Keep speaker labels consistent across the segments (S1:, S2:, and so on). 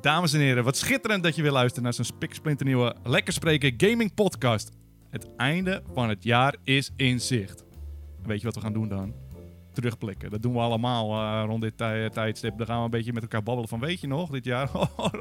S1: Dames en heren, wat schitterend dat je weer luistert naar zo'n spiksplinternieuwe Lekker Spreken Gaming Podcast. Het einde van het jaar is in zicht. En weet je wat we gaan doen dan? Terugblikken. Dat doen we allemaal eh, rond dit tij- tijdstip. Dan gaan we een beetje met elkaar babbelen van weet je nog, dit jaar.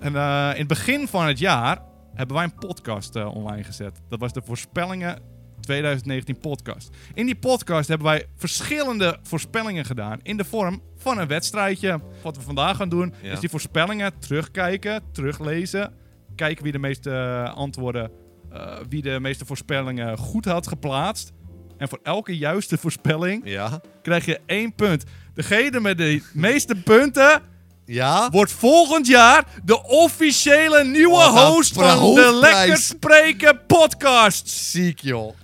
S1: en eh, in het begin van het jaar hebben wij een podcast eh, online gezet. Dat was de voorspellingen 2019 podcast. In die podcast hebben wij verschillende voorspellingen gedaan in de vorm van een wedstrijdje. Wat we vandaag gaan doen
S2: Ja.
S1: is die voorspellingen terugkijken, teruglezen, kijken wie de meeste eh, antwoorden, eh, wie de meeste voorspellingen goed had geplaatst. En voor elke juiste voorspelling
S2: Ja?
S1: krijg je één punt. Degene met de meeste punten
S2: Ja?
S1: wordt volgend jaar de officiële nieuwe
S2: Oh, dat
S1: host
S2: voor een
S1: van de
S2: hoofdprijs.
S1: Lekker Spreken podcast.
S2: Ziek, joh.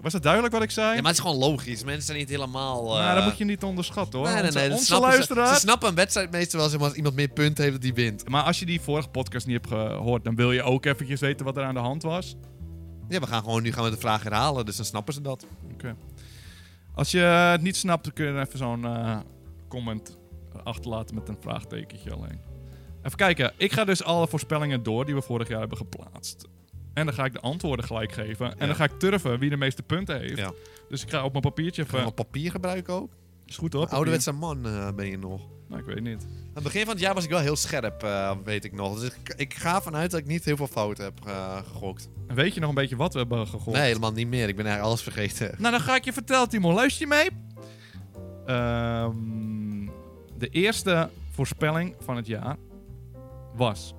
S1: Was dat duidelijk wat ik zei?
S2: Ja, maar het is gewoon logisch. Mensen zijn niet helemaal... eh,
S1: Nou, dat moet je niet onderschatten hoor.
S2: Nee, nee,
S1: Onze-
S2: nee. dat
S1: Onze
S2: snappen ze.
S1: luisteraars.
S2: Ze, snappen een wedstrijd meestal wel zeg maar, als iemand meer punten heeft dat die wint.
S1: Maar als je die vorige podcast niet hebt gehoord, dan wil je ook eventjes weten wat er aan de hand was.
S2: Ja, we gaan gewoon nu gaan we de vraag herhalen, dus dan snappen ze dat.
S1: Oké. Als je het niet snapt, dan kun je even zo'n eh, comment achterlaten met een vraagtekentje alleen. Even kijken. Ik ga dus alle voorspellingen door die we vorig jaar hebben geplaatst. En dan ga ik de antwoorden gelijk geven. En
S2: Ja.
S1: dan ga ik turven wie de meeste punten heeft.
S2: Ja.
S1: Dus ik ga op mijn papiertje
S2: Gaan we
S1: even...
S2: papier gebruiken ook?
S1: Is goed hoor,
S2: Ouderwetse man eh, ben je nog.
S1: papier. Nou, ik weet niet.
S2: Aan het begin van het jaar was ik wel heel scherp, eh, weet ik nog. Dus ik, ik ga vanuit dat ik niet heel veel fouten heb eh, gegokt.
S1: En weet je nog een beetje wat we hebben gegooid?
S2: Nee, helemaal niet meer. Ik ben eigenlijk alles vergeten.
S1: Nou, dan ga ik je vertellen, Timo. Luister je mee? Ehm, de eerste voorspelling van het jaar was...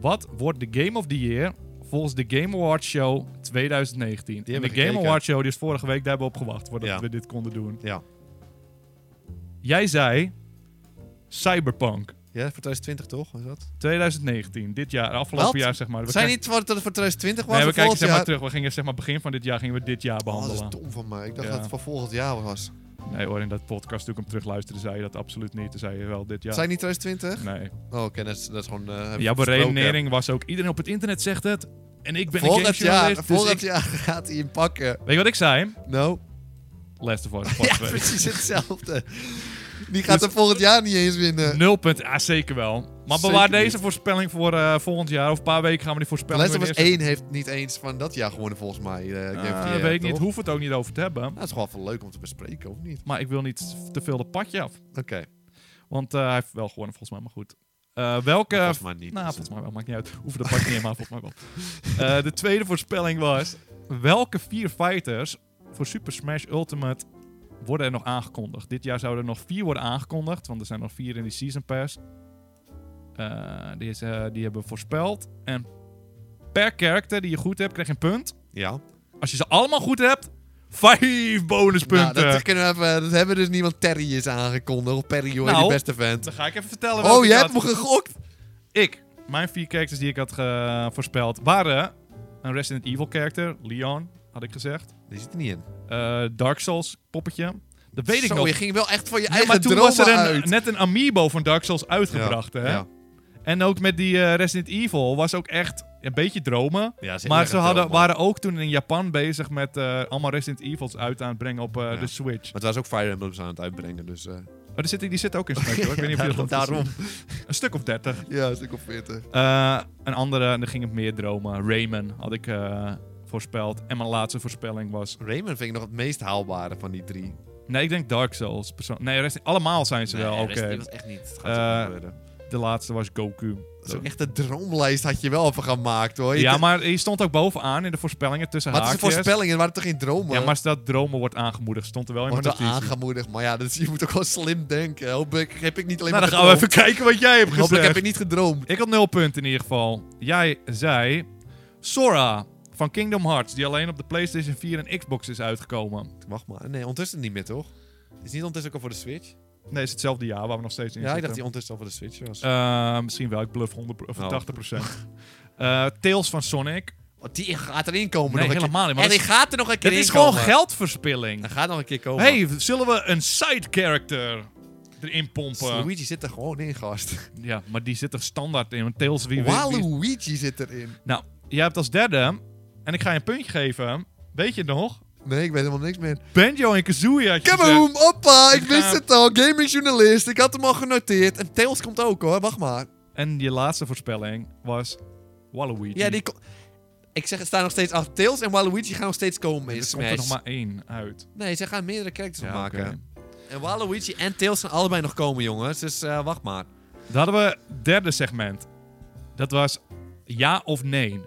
S1: Wat wordt de Game of the Year volgens de Game Awards Show 2019?
S2: Die
S1: En de
S2: hebben we
S1: Game
S2: gekeken.
S1: Awards Show, die is vorige week, daar hebben we op gewacht voordat
S2: Ja.
S1: we dit konden doen.
S2: Ja.
S1: Jij zei Cyberpunk
S2: Ja, voor 2020 toch? Was dat?
S1: 2019, dit jaar, afgelopen
S2: Wat?
S1: jaar zeg maar. We
S2: Zijn
S1: kijken-
S2: niet wat dat het voor 2020 was?
S1: Nee, we
S2: of
S1: kijken
S2: volgend
S1: zeg maar
S2: jaar?
S1: terug. We gingen zeg maar begin van dit jaar gingen we dit jaar
S2: Oh, dat
S1: behandelen.
S2: is dom van mij. Ik dacht
S1: Ja.
S2: dat het voor volgend jaar was.
S1: Nee hoor, in dat podcast toen ik hem terugluisterde zei je dat absoluut niet. Toen zei je wel dit jaar.
S2: Zijn niet 2020?
S1: Nee.
S2: Oh, oké, dat, is, dat is gewoon... eh, heb ik
S1: Jouw
S2: besproken.
S1: beredenering was ook, iedereen op het internet zegt het. En ik ben een
S2: Volgend jaar,
S1: gamejournalist, dus
S2: volgend
S1: ik-
S2: jaar gaat hij hem pakken.
S1: Weet je wat ik zei?
S2: Nou,
S1: Last of Us
S2: ja,
S1: Part 2.
S2: precies hetzelfde. Die
S1: Dus-
S2: gaat hem volgend jaar niet eens winnen.
S1: Nul punten, ah, zeker wel. Maar bewaar
S2: Zeker
S1: deze
S2: niet.
S1: voorspelling voor eh, volgend jaar. Of een paar weken gaan we die voorspelling
S2: Last of Us
S1: weer neerzetten.
S2: 1 heeft niet eens van dat jaar gewonnen, volgens mij. eh, Game of the
S1: Ah,
S2: Year,
S1: weet ik niet,
S2: toch?
S1: hoef het ook niet over te hebben.
S2: Nou, het is gewoon wel leuk om te bespreken, of niet?
S1: Maar ik wil niet te veel de padje af.
S2: Oké,
S1: Want eh, hij heeft wel gewonnen volgens mij, maar goed. Eh, welke...
S2: volgens mij niet.
S1: nou,
S2: dus-
S1: volgens mij wel, maakt niet uit. Hoeven de pak niet maar volgens mij wel. Eh, de tweede voorspelling was... Welke vier fighters voor Super Smash Ultimate worden er nog aangekondigd? Dit jaar zouden er nog vier worden aangekondigd, want er zijn nog vier in die Season Pass. Eh, die, is, eh, die hebben we voorspeld. En per character die je goed hebt, krijg je een punt.
S2: ja.
S1: Als je ze allemaal goed hebt, vijf
S2: Nou,
S1: bonuspunten.
S2: dat, kunnen we even, dat hebben we dus niemand. Terry is aangekondigd. Of Perry, hoor,
S1: Nou.
S2: die beste vent.
S1: Dan ga ik even vertellen. welke
S2: Oh,
S1: ik
S2: jij
S1: had.
S2: hebt me gegokt?
S1: Ik, mijn vier characters die ik had eh, voorspeld waren een Resident Evil character, Leon, had ik gezegd.
S2: Die zit er niet in.
S1: Eh, Dark Souls poppetje. Dat weet
S2: Zo,
S1: ik nog.
S2: je ging wel echt van je
S1: Ja,
S2: eigen
S1: maar toen
S2: dromen
S1: was er een,
S2: uit.
S1: net een amiibo van Dark Souls uitgebracht. hè?
S2: Ja,
S1: En ook met die eh, Resident Evil was ook echt een beetje dromen.
S2: ja is heel
S1: Maar
S2: erg
S1: ze
S2: een
S1: hadden,
S2: droom, man.
S1: waren ook toen in Japan bezig met eh, allemaal Resident Evils uit aan het brengen op eh,
S2: Ja.
S1: de Switch.
S2: Maar het was ook Fire Emblem aan het uitbrengen, dus... eh,
S1: Oh, die zit, die zit ook in Smash hoor. Ik weet niet of je dat hebt
S2: Daarom.
S1: gezien. Een stuk of dertig.
S2: Ja, een stuk of 40.
S1: Eh, een andere, en dan ging het meer dromen. Rayman had ik eh, voorspeld. En mijn laatste voorspelling was...
S2: Rayman vind ik nog het meest haalbare van die drie.
S1: Nee, ik denk Dark Souls. perso- Nee, rest, allemaal zijn ze wel. Oké.
S2: was echt niet. Het
S1: gaat Eh, zo De laatste was Goku.
S2: Zo'n echte droomlijst had je wel even gemaakt hoor. Oh, Je
S1: Ja,
S2: kunt-
S1: maar die stond ook bovenaan in de voorspellingen tussen
S2: Wat is de
S1: haakjes.
S2: voorspelling? Er waren toch geen dromen?
S1: Ja, maar dat dromen wordt aangemoedigd. Stond er wel in mijn
S2: Wordt wel
S1: notitie.
S2: aangemoedigd. Maar ja, dus je moet ook wel slim denken. Hopelijk heb ik niet alleen
S1: Nou, dan
S2: maar
S1: gaan we even
S2: gedroomd.
S1: kijken wat jij hebt
S2: Hopelijk
S1: gezegd.
S2: heb ik niet gedroomd.
S1: Ik had nul punten in ieder geval. Jij zei... Sora van Kingdom Hearts, die alleen op de PlayStation 4 en Xbox is uitgekomen.
S2: Wacht maar. Nee, ondertussen niet meer toch? Is niet ondertussen ook al voor de Switch?
S1: Nee, het is hetzelfde jaar waar we nog steeds in
S2: Ja, ik
S1: zitten.
S2: dacht die ondertussen al voor de Switch was.
S1: Eh, misschien wel, ik bluff 100 of
S2: Oh.
S1: 80 Eh, Tails van Sonic.
S2: Oh, die gaat erin komen
S1: Nee,
S2: nog een
S1: helemaal
S2: keer.
S1: niet, maar
S2: en
S1: dat
S2: die gaat er nog een keer
S1: Dit
S2: in
S1: is gewoon
S2: komen.
S1: geldverspilling.
S2: Hij gaat nog een keer komen.
S1: hey, zullen we een side character erin pompen?
S2: Luigi zit er gewoon in, gast.
S1: Ja, maar die zit er standaard in. Want Tails, wie, wie, wie-
S2: Waluigi zit erin.
S1: Nou, jij hebt als derde, en ik ga je een puntje geven. Weet je het nog?
S2: Nee, ik weet helemaal niks meer.
S1: Banjo en Kazooie had je gezegd.
S2: Kaboom, oppa, ik
S1: Ik
S2: wist
S1: ga-
S2: het al. Gamingjournalist, ik had hem al genoteerd. En Tails komt ook hoor, wacht maar.
S1: En je laatste voorspelling was Waluigi. Dus
S2: Ja, die ko- Ik zeg, het staat nog steeds achter. Tails en Waluigi gaan nog steeds komen in
S1: Dus komt er nog
S2: Smash.
S1: maar één uit.
S2: Nee, ze gaan meerdere characters
S1: Ja,
S2: maken.
S1: oké.
S2: En Waluigi en Tails zijn allebei nog komen, jongens. Dus eh, wacht maar.
S1: Dan hadden we het derde segment. Dat was ja of nee.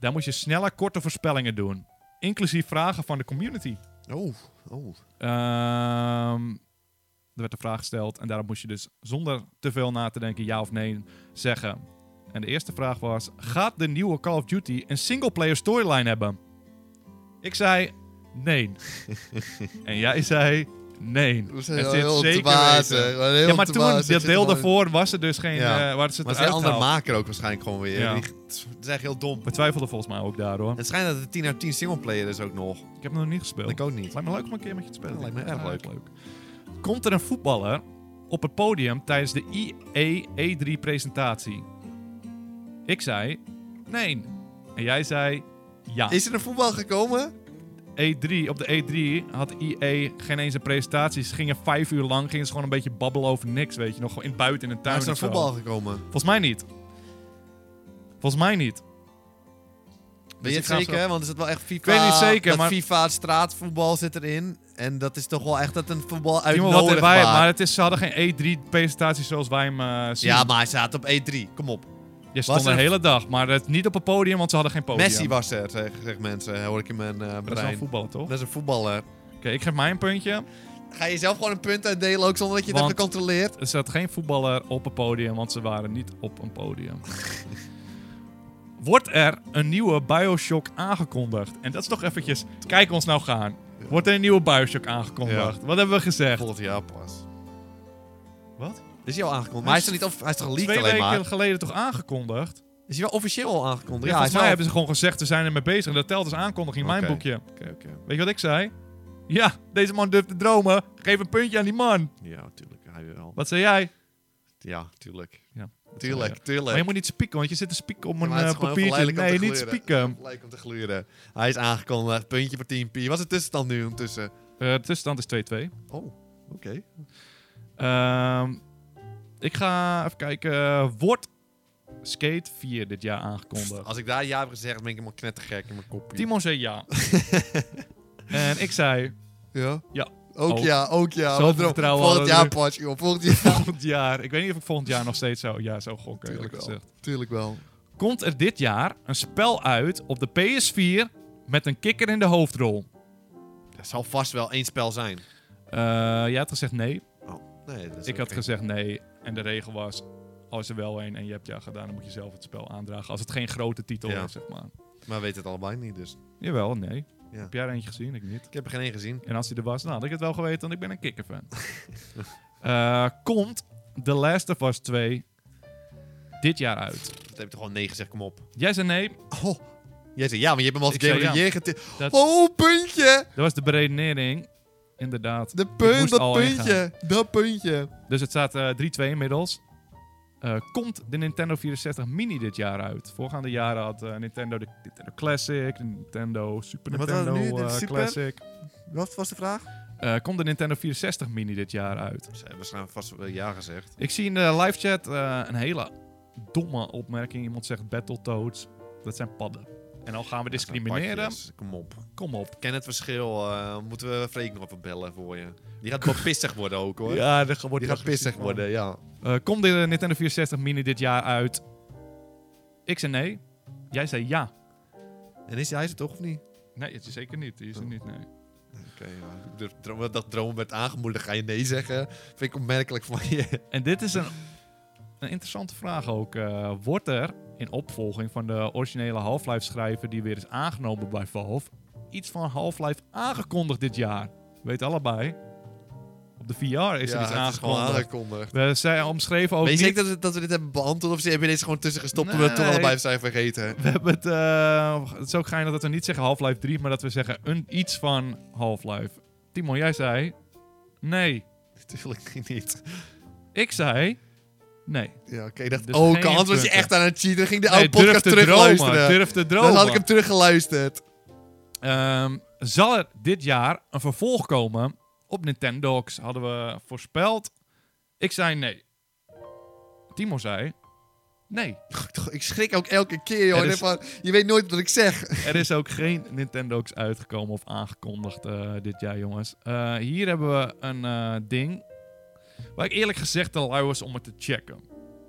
S1: Daar moest je snelle, korte voorspellingen doen. Inclusief vragen van de community.
S2: Oh, oh.
S1: Ehm, er werd een vraag gesteld en daarop moest je dus zonder te veel na te denken ja of nee zeggen. En de eerste vraag was: gaat de nieuwe Call of Duty een singleplayer storyline hebben? Ik zei nee. en jij zei nee.
S2: We
S1: Het zit zeker weten.
S2: Heel
S1: Ja, maar toen, dat deel daarvoor, was er dus geen.
S2: Ja.
S1: eh, waar ze het
S2: Maar ze zijn
S1: eruit
S2: andere
S1: haalden.
S2: maker ook waarschijnlijk gewoon weer.
S1: Ja.
S2: Die, het is echt heel dom.
S1: We twijfelden volgens mij ook daar hoor.
S2: Het schijnt dat het 10 uit 10 singleplayer is ook nog.
S1: Ik heb nog niet gespeeld.
S2: Ik ook niet.
S1: Lijkt me leuk om een keer met je te spelen.
S2: Ja, lijkt me erg leuk.
S1: Komt er een voetballer op het podium tijdens de IE E3 presentatie? Ik zei nee. En jij zei ja.
S2: Is er een voetbal gekomen?
S1: E3, op de E3 had IE geen eens een presentatie. Ze gingen vijf uur lang, gingen ze gewoon een beetje babbelen over niks, weet je nog. Gewoon in buiten, in de tuin
S2: Daar is er
S1: en
S2: een
S1: zo.
S2: voetbal gekomen.
S1: Volgens mij niet. Volgens mij niet. Dus
S2: Weet je
S1: ik
S2: het
S1: ga
S2: zeker?
S1: zo-
S2: hè? Want is het wel echt FIFA?
S1: weet niet zeker,
S2: dat
S1: maar-
S2: FIFA straatvoetbal zit erin. En dat is toch wel echt dat een voetbal
S1: Timo, wat hebben wij, maar
S2: uitnodigbaar.
S1: het is, ze hadden geen E3-presentatie zoals wij hem eh, zien.
S2: Ja, maar hij staat op E3. Kom op.
S1: Je stond
S2: Was
S1: de
S2: er een-
S1: hele dag, maar het, niet op het podium, want ze hadden geen podium.
S2: Messi was er, zeg- zeggen mensen. Hoor ik in mijn eh,
S1: Oh, Dat is wel
S2: brein.
S1: een voetballer, toch?
S2: Dat
S1: Oké,
S2: is een voetballer.
S1: ik geef mij een puntje.
S2: Ga je zelf gewoon een punt uitdelen ook zonder dat je het
S1: Want-
S2: hebt gecontroleerd?
S1: Er zat geen voetballer op het podium, want ze waren niet op een podium. Wordt er een nieuwe Bioshock aangekondigd? En dat is toch eventjes... Kijk ons nou gaan. Wordt er een nieuwe Bioshock aangekondigd? Wat hebben we gezegd?
S2: Volgend jaar pas.
S1: Wat?
S2: Is hij al aangekondigd? Maar hij is, er niet of, hij is toch geleakt
S1: Twee
S2: alleen
S1: weken
S2: maar?
S1: geleden toch aangekondigd?
S2: Is hij wel officieel al aangekondigd?
S1: Ja, volgens
S2: hij is
S1: mij
S2: wel-
S1: hebben ze gewoon gezegd, we zijn ermee bezig. En dat telt als aankondiging in mijn
S2: Oké.
S1: boekje.
S2: Oké, oké.
S1: Weet je wat ik zei? Ja, deze man durft te dromen. Geef een puntje aan die man.
S2: Ja, tuurlijk. Hij wel.
S1: Wat zei jij?
S2: Ja, tuurlijk.
S1: Ja, dat zei
S2: Tuurlijk,
S1: jij. Maar je
S2: tuurlijk.
S1: moet niet spieken, want je zit te spieken op
S2: Ja,
S1: een
S2: maar het is
S1: eh,
S2: gewoon heel
S1: papiertje.
S2: verleidelijk
S1: Nee,
S2: om te
S1: niet
S2: gluren.
S1: spieken.
S2: Leuk om te gluren. Hij is aangekondigd. Puntje voor 10p. Wat is de tussenstand nu ondertussen?
S1: Eh, de tussenstand is 2-2.
S2: Oh, oké.
S1: Ehm, ik ga even kijken. wordt Skate 4 dit jaar aangekondigd?
S2: Als ik daar ja heb gezegd, ben ik helemaal knettergek in mijn kopje.
S1: Timon zei ja. en ik zei
S2: Ja?
S1: Ja.
S2: Ook
S1: Oh.
S2: ja, ook ja.
S1: Zoveel
S2: Wat erop.
S1: vertrouwen
S2: Volgend jaar
S1: hadden
S2: pas, joh. Volgend jaar.
S1: volgend jaar. Ik weet niet of ik volgend jaar nog steeds zou, ja, zou gokken. eerlijk
S2: Tuurlijk wel.
S1: gezegd.
S2: Tuurlijk wel.
S1: Komt er dit jaar een spel uit op de PS4 met een kikker in de hoofdrol?
S2: Er zal vast wel één spel zijn.
S1: Eh, jij had gezegd nee.
S2: Nee, dat is
S1: Ik had
S2: oké.
S1: gezegd nee. En de regel was, als er wel een en je hebt ja gedaan, dan moet je zelf het spel aandragen. Als het geen grote titel
S2: Ja.
S1: is, zeg maar.
S2: Maar weet het allebei niet, dus.
S1: Jawel, nee.
S2: Ja.
S1: Heb jij er eentje gezien? Ik niet.
S2: Ik heb er geen één gezien.
S1: En als hij er was, nou, had ik het wel geweten, want ik ben een kikkerfan. Eh komt The Last of Us 2 dit jaar uit?
S2: Dat heb ik toch gewoon nee gezegd, kom op.
S1: Jij zei nee.
S2: Oh. Jij zei ja, maar je hebt hem als
S1: Ik
S2: Game of
S1: zei
S2: the
S1: ja.
S2: Year getipt.
S1: Dat-
S2: Oh, puntje!
S1: Dat was de beredenering. Inderdaad.
S2: De
S1: moest
S2: punt, dat
S1: al
S2: puntje. Dat puntje.
S1: Dus het staat eh, 3-2 inmiddels. Eh, komt de Nintendo 64 Mini dit jaar uit? Voorgaande jaren had eh, Nintendo de Nintendo Classic, de Nintendo Super
S2: En wat
S1: Nintendo
S2: hadden we nu? De
S1: eh,
S2: Super?
S1: Classic.
S2: Wat was de vraag?
S1: Eh, komt de Nintendo 64 Mini dit jaar uit?
S2: Ze hebben waarschijnlijk vast wel ja gezegd.
S1: Ik zie in de live chat eh, een hele domme opmerking. Iemand zegt Battletoads. Dat zijn padden. En al gaan we discrimineren.
S2: Padjes, Kom op.
S1: Kom op.
S2: Ken het verschil. eh, moeten we Freek nog even bellen voor je? Die gaat wel pissig worden ook, hoor.
S1: Ja, dat wordt
S2: Die gaat pissig worden, ja.
S1: Eh, komt de Nintendo 64 Mini dit jaar uit? Ik zei nee. Jij zei ja.
S2: En is hij is het toch of niet?
S1: Nee, het is zeker niet. Die is er niet, nee.
S2: Oké, ja. Ik durf- droom- Dat droom werd aangemoedigd, ga je nee zeggen. Vind ik opmerkelijk van je.
S1: En dit is een, een interessante vraag ook. Eh, wordt er in opvolging van de originele Half-Life schrijver die weer is aangenomen bij Valve, iets van Half-Life aangekondigd dit jaar? Weet allebei. Op de VR is er iets
S2: ja, het is gewoon
S1: aangekondigd.
S2: aangekondigd.
S1: We zijn omschreven ook
S2: Weet je
S1: niet.
S2: zeker dat we, dat we dit hebben beantwoord? Of ze hebben deze gewoon tussen gestopt omdat we
S1: Nee.
S2: het toch allebei zijn vergeten?
S1: We hebben het, eh, het is ook geinig dat we niet zeggen Half-Life 3, maar dat we zeggen een, iets van Half-Life. Timo, jij zei nee.
S2: Natuurlijk niet.
S1: Ik zei nee.
S2: Ja, oké. ik dacht,
S1: Dus
S2: oh,
S1: geen
S2: kan anders was je
S1: punten.
S2: echt aan het cheaten. Dan ging ik de
S1: nee
S2: oude podcast
S1: durf te dromen.
S2: terugluisteren.
S1: Durf te dromen.
S2: Dan had ik hem teruggeluisterd.
S1: Ehm, zal er dit jaar een vervolg komen op Nintendox? Hadden we voorspeld. Ik zei nee. Timo zei nee.
S2: Toch, Ik schrik ook elke keer, joh.
S1: Er
S2: En
S1: is-
S2: van, je weet nooit wat ik zeg.
S1: Er is ook geen Nintendox uitgekomen of aangekondigd eh, dit jaar, jongens. Eh, hier hebben we een eh, ding waar ik eerlijk gezegd te lui was om het te checken.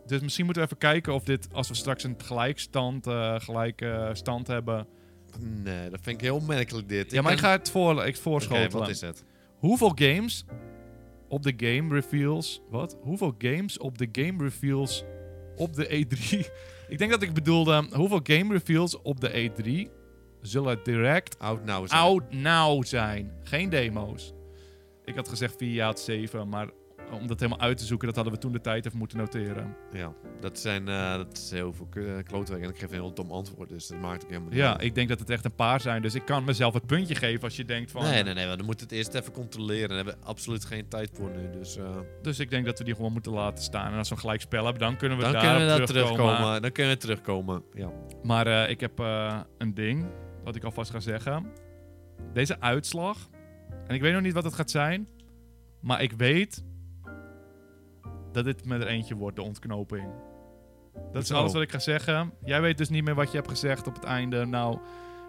S1: Dus misschien moeten we even kijken of dit, als we straks een gelijkstand, eh, gelijke stand hebben...
S2: Nee, dat vind ik heel opmerkelijk dit.
S1: Ja, maar ik
S2: kan-
S1: ga het, voor, ik
S2: Oké,
S1: voorschotelen.
S2: wat is het?
S1: Hoeveel games op de game reveals... Wat? Hoeveel games op de game reveals op de E3... ik denk dat ik bedoelde... Hoeveel game reveals op de E3 zullen direct
S2: Oud nou zijn.
S1: oud nou zijn. Geen demo's. Ik had gezegd 4 jaar 7, maar om dat helemaal uit te zoeken, dat hadden we toen de tijd even moeten noteren.
S2: Ja, dat, zijn, eh, dat is heel veel k- eh, klootwerk. En ik geef een heel dom antwoord, dus dat maakt ook helemaal niet
S1: Ja,
S2: uit.
S1: ik denk dat het echt een paar zijn, dus ik kan mezelf het puntje geven als je denkt van...
S2: Nee, nee, nee. want We moeten het eerst even controleren. Daar hebben we absoluut geen tijd voor nu. Dus eh,
S1: Dus ik denk dat we die gewoon moeten laten staan. En als we een gelijkspel hebben, dan kunnen we
S2: dan
S1: daar
S2: kunnen we daar
S1: terugkomen.
S2: terugkomen. Dan kunnen we terugkomen. Ja.
S1: Maar eh, ik heb eh, een ding, wat ik alvast ga zeggen. Deze uitslag, en ik weet nog niet wat het gaat zijn, maar ik weet dat dit met er eentje wordt, de ontknoping. Dat is
S2: Zo.
S1: alles wat ik ga zeggen. Jij weet dus niet meer wat je hebt gezegd op het einde. Nou,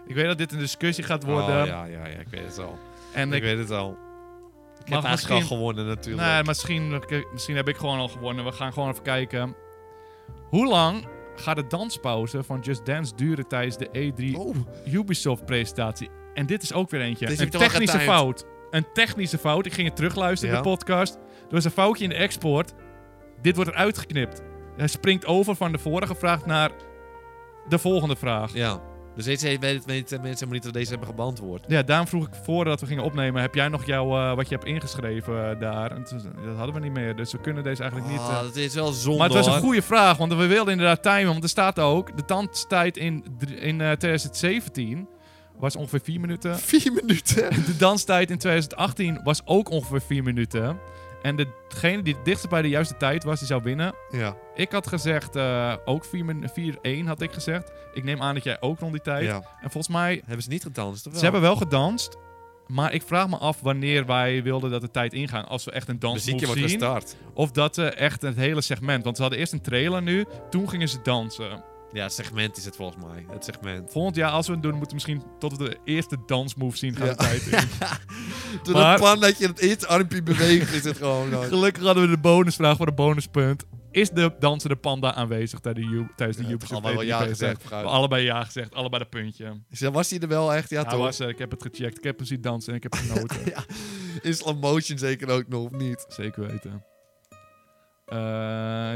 S1: ik weet dat dit een discussie gaat worden.
S2: Oh, ja, ja, ja. Ik weet het al.
S1: En
S2: Ik,
S1: ik,
S2: weet het al. Ik
S1: Mag
S2: heb eigenlijk
S1: misschien-
S2: al gewonnen natuurlijk.
S1: nee, misschien, misschien heb ik gewoon al gewonnen. We gaan gewoon even kijken. Hoe lang gaat de danspauze van Just Dance duren tijdens de E E3
S2: Oh,
S1: Ubisoft-presentatie. En dit is ook weer eentje.
S2: Dit heeft
S1: een
S2: toch wel
S1: technische
S2: getimed?
S1: fout. Een technische fout. Ik ging het terugluisteren in de
S2: Ja.
S1: podcast. Er was een foutje in de export. Dit wordt eruit geknipt. Hij springt over van de vorige vraag naar de volgende vraag. Ja,
S2: ja. Dus weet je, weet, weet, mensen helemaal niet dat we deze hebben gebeantwoord.
S1: daarom vroeg ik voordat we gingen opnemen... heb jij nog jouw, eh, wat je hebt ingeschreven eh, daar? En toen- dat hadden we niet meer, dus we kunnen deze eigenlijk niet... eh,
S2: Ah, dat is wel zonde
S1: maar het was
S2: hoor.
S1: een goede vraag, want we wilden inderdaad timen. Want er staat ook, de danstijd in, dr- in eh, 2017 was ongeveer 4 minuten.
S2: Vier minuten.
S1: De danstijd in 2018 was ook ongeveer 4 minuten. En degene die het dichtst bij de juiste tijd was, die zou winnen.
S2: Ja,
S1: Ik had gezegd, eh, ook 4 min- 4-1 had ik gezegd. Ik neem aan dat jij ook rond die tijd.
S2: ja.
S1: En volgens mij,
S2: Hebben ze niet gedanst?
S1: ze
S2: of wel?
S1: hebben wel gedanst. Maar ik vraag me af wanneer wij wilden dat de tijd ingaan. Als we echt een dansmove
S2: muziekje
S1: zien.
S2: wordt gestart.
S1: Of dat eh, echt het hele segment. Want ze hadden eerst een trailer nu. Toen gingen ze dansen.
S2: Ja, het segment is het volgens mij. Het segment.
S1: Volgend jaar, als we het doen, moeten we misschien tot we de eerste dansmove zien gaan
S2: Ja.
S1: de tijd in.
S2: Door
S1: Maar-
S2: het plan dat je het eerste armpje beweegt, is het gewoon... dan-
S1: Gelukkig hadden we de bonusvraag voor een bonuspunt. Is de dansende panda aanwezig tijdens de, U- tijdens de
S2: Ja, het is
S1: Ubisoft
S2: allemaal wel
S1: E3
S2: ja
S1: feest?
S2: gezegd,
S1: We
S2: fruit.
S1: hebben allebei ja gezegd, allebei dat puntje. Ja,
S2: Dus dan was hij er wel echt, ja, toch?
S1: was, er. ik heb het gecheckt, ik heb hem zien dansen en ik heb genoten.
S2: In slow motion zeker ook nog, of niet?
S1: Zeker weten. Eh,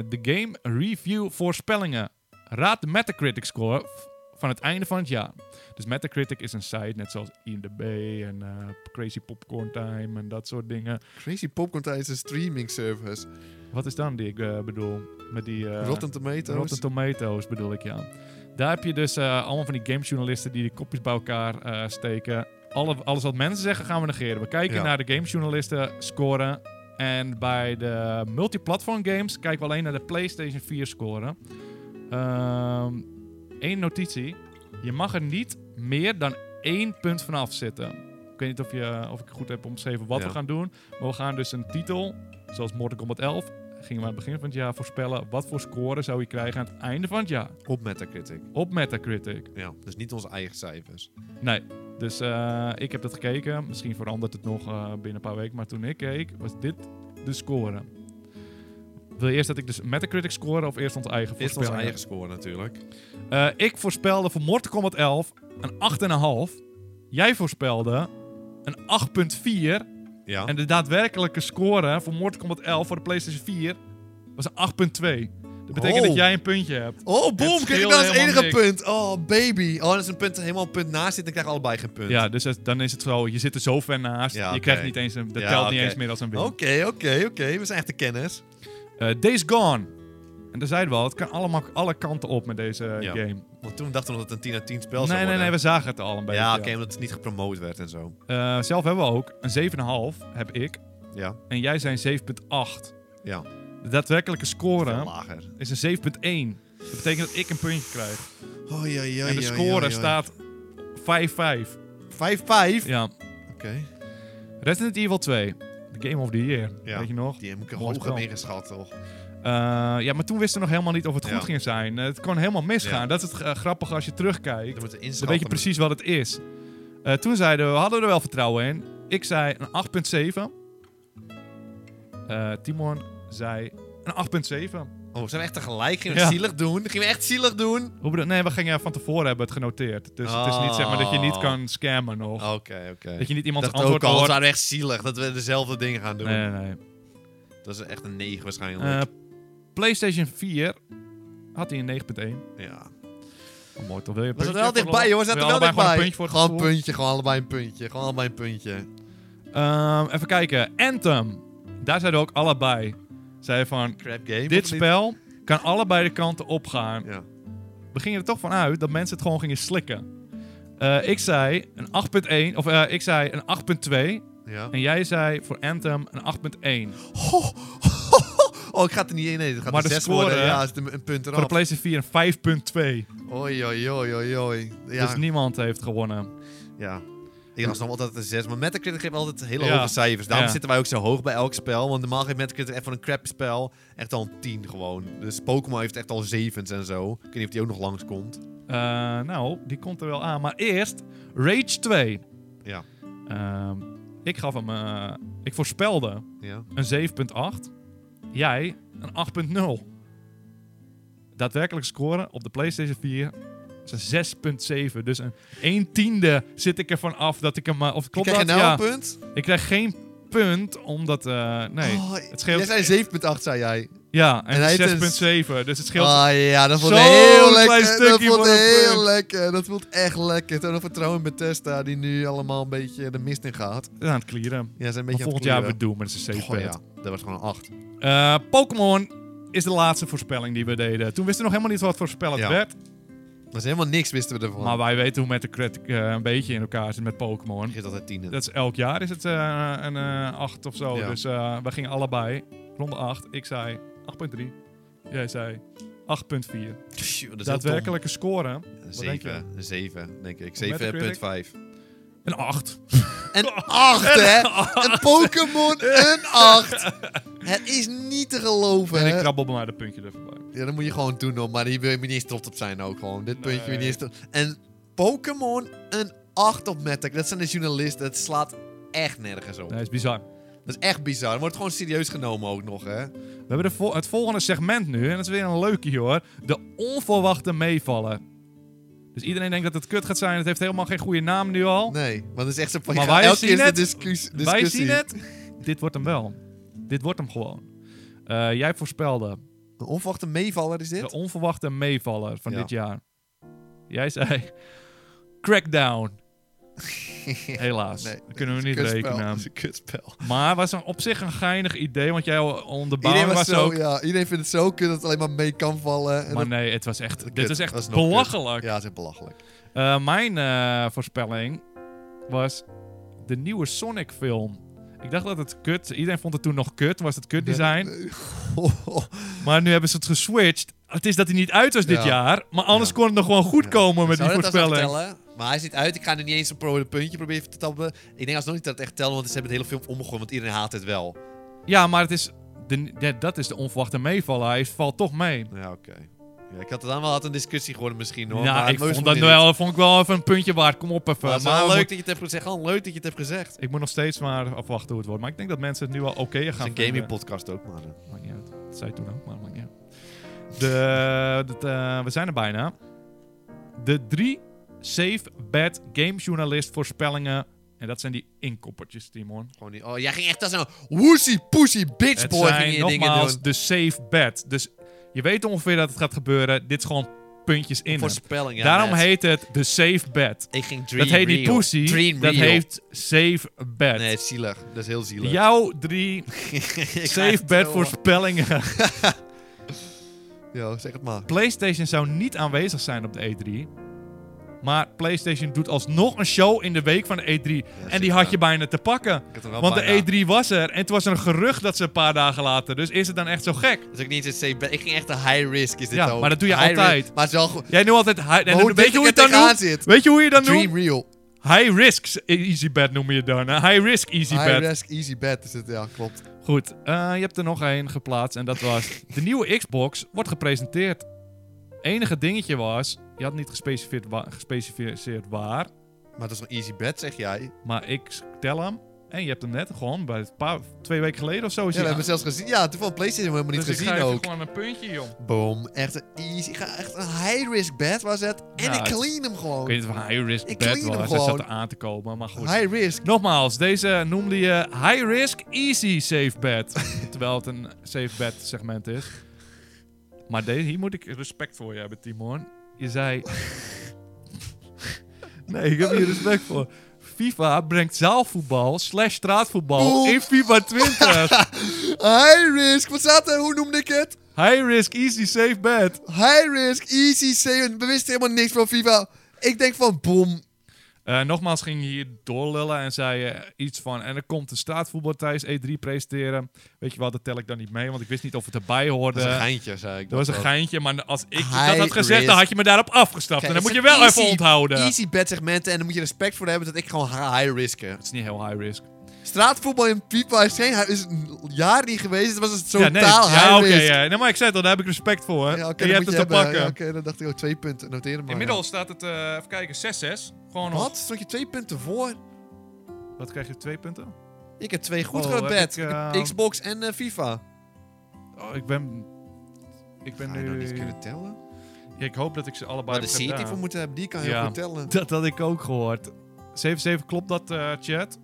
S1: De game review voorspellingen. Raad de Metacritic score f- van het einde van het jaar. Dus Metacritic is een site, net zoals IMDb en eh, Crazy Popcorn Time en dat soort dingen.
S2: Crazy Popcorn tijdens een streaming service.
S1: Wat is dan die ik eh, bedoel? Met die, eh,
S2: Rotten Tomatoes.
S1: Rotten Tomatoes bedoel ik, ja. Daar heb je dus eh, allemaal van die gamejournalisten die de kopjes bij elkaar eh, steken. Alle, alles wat mensen zeggen gaan we negeren. We kijken
S2: Ja.
S1: naar de gamejournalisten scoren. En bij de multiplatform games kijken we alleen naar de PlayStation 4 scoren. Ehm Eén notitie. Je mag er niet meer dan één punt vanaf zitten. Ik weet niet of, je, of ik goed heb omschreven wat
S2: Ja.
S1: we gaan doen. Maar we gaan dus een titel, zoals Mortal Kombat 11, gingen we aan het begin van het jaar voorspellen. Wat voor score zou je krijgen aan het einde van het jaar?
S2: Op Metacritic.
S1: Op Metacritic.
S2: Ja, dus niet onze eigen cijfers.
S1: Nee. Dus eh, ik heb dat gekeken. Misschien verandert het nog eh, binnen een paar weken. Maar toen ik keek, was dit de score. Wil je eerst dat ik dus Metacritic score of eerst ons eigen
S2: Eerst onze
S1: voorspellingen?
S2: eigen score natuurlijk.
S1: Eh, ik voorspelde voor Mortal Kombat 11 een 8,5. Jij voorspelde een 8,4.
S2: Ja.
S1: En de daadwerkelijke score voor Mortal Kombat 11 voor de PlayStation 4 was een 8,2. Dat betekent
S2: Oh.
S1: dat jij een puntje hebt.
S2: Oh, boom!
S1: Het
S2: Kijk,
S1: scheelde
S2: dat is het
S1: helemaal
S2: enige
S1: niks.
S2: punt. Oh, baby. Oh, als een punt helemaal een punt naast zit, dan krijgen we allebei geen punt.
S1: Ja, dus het- dan is het zo. Je zit er zo ver naast.
S2: Ja,
S1: je
S2: oké.
S1: krijgt niet eens een, dat
S2: Ja,
S1: telt niet
S2: oké. Oh.
S1: eens meer als een win.
S2: Oké, oké, oké. We zijn echt de kennis.
S1: Eh, Days Gone. En daar zeiden we al, het kan allemaal alle kanten op met deze
S2: Ja.
S1: game.
S2: Want toen dachten we dat het een 10 uit 10 spel zou
S1: Nee, nee,
S2: worden.
S1: nee, we zagen het al een beetje.
S2: Ja, oké, omdat het niet gepromoot werd en zo.
S1: Eh, zelf hebben we ook een 7,5 heb ik.
S2: Ja,
S1: En jij zijn 7,8.
S2: ja.
S1: De daadwerkelijke
S2: Veel
S1: score
S2: lager.
S1: is een 7,1. Dat betekent dat ik een puntje krijg.
S2: Oh, ja, ja,
S1: en de
S2: ja,
S1: score
S2: ja, ja.
S1: staat 5-5.
S2: Vijf, vijf.
S1: Ja.
S2: Oké.
S1: Resident Evil 2. The Game of the Year.
S2: Ja.
S1: Weet je nog?
S2: Die heb ik
S1: Mooi
S2: hoog
S1: spel.
S2: ingeschat, toch?
S1: Eh, ja, maar toen wisten we nog helemaal niet of het goed
S2: Ja.
S1: ging zijn. Eh, het kon helemaal misgaan.
S2: Ja.
S1: Dat is het eh, grappige als je terugkijkt.
S2: Dan moet je
S1: Dan
S2: inschatten.
S1: weet je precies wat het is. Eh, toen zeiden we, we hadden er wel vertrouwen in. Ik zei een 8.7. Eh, Timon zei een 8.7.
S2: Oh, we zijn echt tegelijk. Gingen we
S1: Ja.
S2: zielig doen? Gingen we echt zielig doen?
S1: Hoe bedoel- Nee, we gingen van tevoren hebben het genoteerd. Dus het is niet zeg maar dat je niet
S2: Oh.
S1: kan scammen nog.
S2: Oké, oké.
S1: Dat je niet
S2: Ik
S1: iemands
S2: dacht ook
S1: antwoord
S2: al, we
S1: hoort.
S2: waren echt zielig dat we dezelfde dingen gaan doen.
S1: Nee, nee, nee.
S2: Dat is echt een 9 waarschijnlijk.
S1: Eh, PlayStation 4 had hij een 9.1.
S2: ja.
S1: Oh, mooi, toch wil je een
S2: We zaten
S1: puntje
S2: wel
S1: voor de
S2: dichtbij,
S1: lol?
S2: jongens. We
S1: Wil
S2: zaten
S1: je
S2: wel
S1: allebei Gewoon
S2: dichtbij.
S1: een puntje voor het
S2: Gewoon een
S1: gevoel?
S2: puntje, gewoon allebei een puntje. Gewoon allebei een puntje.
S1: Ehm, even kijken. Anthem. Daar zeiden we ook allebei. Zeiden van,
S2: Crap game.
S1: dit
S2: of niet?
S1: spel kan allebei de kanten opgaan.
S2: Ja.
S1: We gingen er toch van uit dat mensen het gewoon gingen slikken. Eh, ik zei een 8.1, of eh, ik zei een 8.2.
S2: ja.
S1: En jij zei voor Anthem een 8.1.
S2: Oh, ik ga het er niet in. Nee, het gaat
S1: Maar
S2: een
S1: de
S2: 6
S1: score,
S2: worden.
S1: hè?
S2: Ja, het is een- een punt
S1: Voor de
S2: eraf.
S1: PlayStation 4 een 5.2.
S2: Oei, oei, oei, oei, oei. Ja.
S1: Dus niemand heeft gewonnen.
S2: Ja. Ik was nog altijd een 6, maar Metacritic geeft altijd hele
S1: Ja.
S2: hoge cijfers. Daarom
S1: Ja.
S2: zitten wij ook zo hoog bij elk spel. Want normaal geeft Metacritic echt van een crap spel echt al een 10 gewoon. Dus Pokémon heeft echt al 7's en zo. Ik weet niet of die ook nog langskomt.
S1: Eh, nou, die komt er wel aan. Maar eerst Rage 2.
S2: Ja.
S1: Ehm, ik gaf hem... eh, ik voorspelde
S2: Ja.
S1: een 7.8. Jij een 8.0. Daadwerkelijk scoren op de PlayStation 4 is een 6.7. Dus een 1 tiende zit ik ervan af dat ik hem... eh, Of klopt
S2: Krijg je
S1: dat?
S2: nou
S1: ja.
S2: een punt?
S1: Ik krijg geen punt, omdat... eh, nee.
S2: Oh,
S1: het scheelt-
S2: Jij zei 7,8, zei jij.
S1: Ja,
S2: En
S1: en,
S2: hij heeft een
S1: 6.7. Dus het scheelt...
S2: Ah ja, dat voelt
S1: Zo'n
S2: heel
S1: klein
S2: lekker. Dat
S1: stukje
S2: voelt
S1: voor een
S2: heel
S1: punt.
S2: lekker. Dat voelt echt lekker. Toen nog vertrouwen in Bethesda, die nu allemaal een beetje de mist in gaat.
S1: aan het clearen.
S2: Ja, ze zijn een
S1: Maar
S2: beetje
S1: volgend
S2: aan
S1: jaar
S2: het
S1: weer doen met zijn
S2: clearen.
S1: safe
S2: Oh, ja, dat was gewoon een 8.
S1: Eh, Pokémon is de laatste voorspelling die we deden. Toen wisten we nog helemaal niet wat voor spel het
S2: Ja.
S1: werd.
S2: Dat is helemaal niks, wisten we ervan.
S1: Maar wij weten hoe met de critic een beetje in elkaar zit met Pokémon.
S2: Ik geef altijd 10.
S1: Dat is elk jaar is het eh, een 8 of zo.
S2: Ja.
S1: Dus eh, we gingen allebei. Ronde 8. Ik zei 8.3. Jij zei 8.4. Daadwerkelijke score.
S2: Een
S1: Wat denk je?
S2: 7, een 7, denk ik. 7,5.
S1: Metacritic? Een 8. Oh.
S2: Een 8, hè? Een Pokémon, een 8. Het is niet te geloven,
S1: En ik
S2: hè?
S1: krabbel bij mij dat puntje er voorbij.
S2: Ja, dat moet je gewoon doen, hoor. Maar hier wil je niet eens trots op zijn ook gewoon. Dit puntje wil je
S1: Nee.
S2: niet eens trots- En Pokémon, een 8 op Metacritic. Dat zijn de journalisten. Het slaat echt nergens op.
S1: Nee, dat is bizar.
S2: Dat is echt bizar. Het wordt gewoon serieus genomen ook nog, hè?
S1: We hebben de vol- het volgende segment nu, en dat is weer een leukie hoor. De onverwachte meevallen. Dus iedereen denkt dat het kut gaat zijn, het heeft helemaal geen goede naam nu al.
S2: Nee, want het is echt zo van...
S1: Maar
S2: je gaat
S1: wij
S2: elke
S1: zien
S2: keer is de
S1: het.
S2: discuss- discussie.
S1: Wij zien het. Dit wordt hem wel. Dit wordt hem gewoon. Eh, jij voorspelde
S2: Een onverwachte meevaller is
S1: de
S2: dit?
S1: onverwachte meevaller van
S2: Ja.
S1: dit jaar. Jij zei Crackdown. Helaas,
S2: Nee,
S1: dat kunnen we
S2: dat is
S1: niet
S2: een kutspel.
S1: rekenen.
S2: Dat is een kutspel.
S1: Maar was een, op zich een geinig idee, want jij onderbouwing
S2: Iedereen,
S1: was,
S2: was zo,
S1: ook...
S2: ja, iedereen vindt het zo kut dat het alleen maar mee kan vallen. En
S1: Maar
S2: dat-
S1: nee, het was echt,
S2: Kut,
S1: dit is echt
S2: dat is nog kut.
S1: belachelijk.
S2: Ja, het is echt belachelijk.
S1: Eh, mijn eh, voorspelling was de nieuwe Sonic film. Ik dacht dat het kut... Iedereen vond het toen nog kut, was het kut design. Maar nu hebben ze het geswitcht. Het is dat hij niet uit was dit
S2: Ja.
S1: jaar. Maar anders
S2: Ja.
S1: kon het nog gewoon goed komen met die
S2: Zou dat alsnog
S1: voorspelling.
S2: tellen? Maar hij zit uit. Ik ga er niet eens een pro- een puntje proberen te tappen. Ik denk alsnog niet dat het echt telt, want ze hebben het hele film omgegooid. Want iedereen haat het wel.
S1: Ja, maar het is de, ja, dat is de onverwachte meevaller. Hij valt toch mee.
S2: Ja, oké. Ja, ik had het dan wel had een discussie geworden misschien hoor.
S1: nou,
S2: maar
S1: ik
S2: maar
S1: vond,
S2: is
S1: dat
S2: het niet.
S1: wel, vond ik wel even een puntje waard. Kom op even.
S2: Maar het is
S1: Maar
S2: wel
S1: we
S2: leuk
S1: moeten-
S2: dat je het hebt gezegd. Gewoon leuk dat je het hebt gezegd.
S1: ik moet nog steeds maar afwachten hoe het wordt. Maar ik denk dat mensen het nu al oké
S2: Het
S1: gaan
S2: is een
S1: vinden.
S2: gaming podcast ook, maar. eh,
S1: Maakt niet uit. Dat zei ik toen ook, maar maakt niet uit. De, dat, eh, we zijn er bijna. De drie safe bad gamejournalist voorspellingen. En dat zijn die inkoppertjes, Timon.
S2: Gewoon niet. Oh, jij ging echt als een woesie poesie bitch
S1: Het
S2: boy ging
S1: zijn
S2: je dingen
S1: nogmaals
S2: doen.
S1: de safe bad. Dus je weet ongeveer dat het gaat gebeuren. Dit is gewoon puntjes in. hem.
S2: Voorspelling, ja,
S1: Daarom
S2: net.
S1: heet het de safe bad.
S2: Ik ging Dream
S1: Dat heet niet
S2: Real.
S1: pussy,
S2: Dream
S1: dat
S2: Real.
S1: heet safe bad.
S2: Nee, het is zielig. Dat is heel zielig.
S1: Jouw drie
S2: Ik ga
S1: safe
S2: echt
S1: bad
S2: trillen.
S1: voorspellingen.
S2: Ja, zeg het maar.
S1: PlayStation zou niet aanwezig zijn op de E3. Maar PlayStation doet alsnog een show in de week van de E3. en die
S2: zeker.
S1: had je bijna te pakken.
S2: Ik heb er wel
S1: Want
S2: bijna.
S1: de E3 was er. En het was een gerucht dat ze een paar dagen later. Dus is het dan echt zo gek?
S2: Dat is ook niet eens een safe bad. Ik ging echt een high risk is dit
S1: Ja,
S2: ook.
S1: maar dat doe je
S2: High
S1: altijd.
S2: risk. Maar het is wel goed.
S1: Jij nu altijd. hi- en
S2: hoe
S1: weet
S2: dicht
S1: je hoe je het
S2: ik
S1: dan
S2: er tegenaan
S1: doet?
S2: zit.
S1: Weet je hoe je dan doet?
S2: Dream real.
S1: High risk easy bet noem je het dan. hè? High risk easy
S2: High
S1: bet.
S2: risk, easy bet is het, ja, klopt.
S1: Goed, eh, je hebt er nog één geplaatst en dat was... de nieuwe Xbox wordt gepresenteerd. Enige dingetje was, je had niet gespecificeerd, wa- gespecificeerd waar,
S2: Maar dat is een easy bet, zeg jij. Ja,
S1: maar ik tel hem. En je hebt hem net gewoon, bij een paar, twee weken geleden of zo. Is
S2: we
S1: hij
S2: hebben zelfs gezien. Ja, toevallig PlayStation hebben we
S1: dus
S2: helemaal
S1: ik
S2: niet gezien
S1: geef je
S2: ook. Oh,
S1: gewoon een puntje, jong.
S2: Boom, echt een easy, ga- echt een high risk bet was het. En
S1: Ja,
S2: ik
S1: het-
S2: clean hem
S1: Ik
S2: gewoon.
S1: weet niet of het high risk
S2: Ik
S1: bet
S2: clean hem
S1: was. Dat zat
S2: gewoon.
S1: er aan te komen, maar goed.
S2: High risk.
S1: Nogmaals, deze noemde je high risk easy safe bet. terwijl het een safe bet segment is. Maar deze, hier moet ik respect voor je hebben, Timon. Je zei... nee, ik heb hier respect voor. FIFA brengt zaalvoetbal slash straatvoetbal
S2: Oeh.
S1: in FIFA 20.
S2: High risk. Wat staat er? Hoe noemde ik het?
S1: high risk easy safe bet.
S2: High risk, easy safe. We wisten helemaal niks van FIFA. Ik denk van boom.
S1: Eh, nogmaals ging je hier doorlullen en zei je iets van... En er komt een straatvoetbal tijdens E3 presenteren. Weet je wel, dat tel ik dan niet mee, want ik wist niet of het erbij hoorde.
S2: geintje, zei ik.
S1: Dat was een geintje, maar als ik dat
S2: High
S1: had gezegd, dan
S2: risk.
S1: had je me daarop afgestapt. en dan moet je wel even onthouden.
S2: Easy bet segmenten en daar moet je respect voor hebben dat ik gewoon high risk heb.
S1: Het is niet heel high risk.
S2: Straatvoetbal in FIFA is geen high- is een jaar niet geweest. Het was een totaal
S1: ja, nee.
S2: high
S1: ja, oké.
S2: risk.
S1: ja. Nee, maar ik zei het al, daar heb ik respect voor. hè.
S2: Ja, oké,
S1: en je
S2: dat
S1: hebt
S2: moet
S1: het
S2: je
S1: te
S2: hebben.
S1: pakken.
S2: Ja, oké, dan dacht ik ook twee punten. Noteer hem maar.
S1: Inmiddels staat het, eh, even kijken, 6-6. Gewoon
S2: Wat? Stond je twee punten voor?
S1: Op, wat krijg je, twee punten?
S2: Ik heb twee goed
S1: Oh,
S2: gebed.
S1: heb ik, eh,
S2: Xbox en eh, FIFA.
S1: Oh, ik ben... Ik ben
S2: Ga Ah, je
S1: nu...
S2: nog niet kunnen tellen?
S1: Ja, ik hoop dat ik ze allebei
S2: Maar de
S1: heb
S2: seat die
S1: gedaan.
S2: we moeten hebben, die kan
S1: Ja.
S2: heel goed tellen.
S1: Dat had ik ook gehoord. 7-7, klopt dat, eh, chat?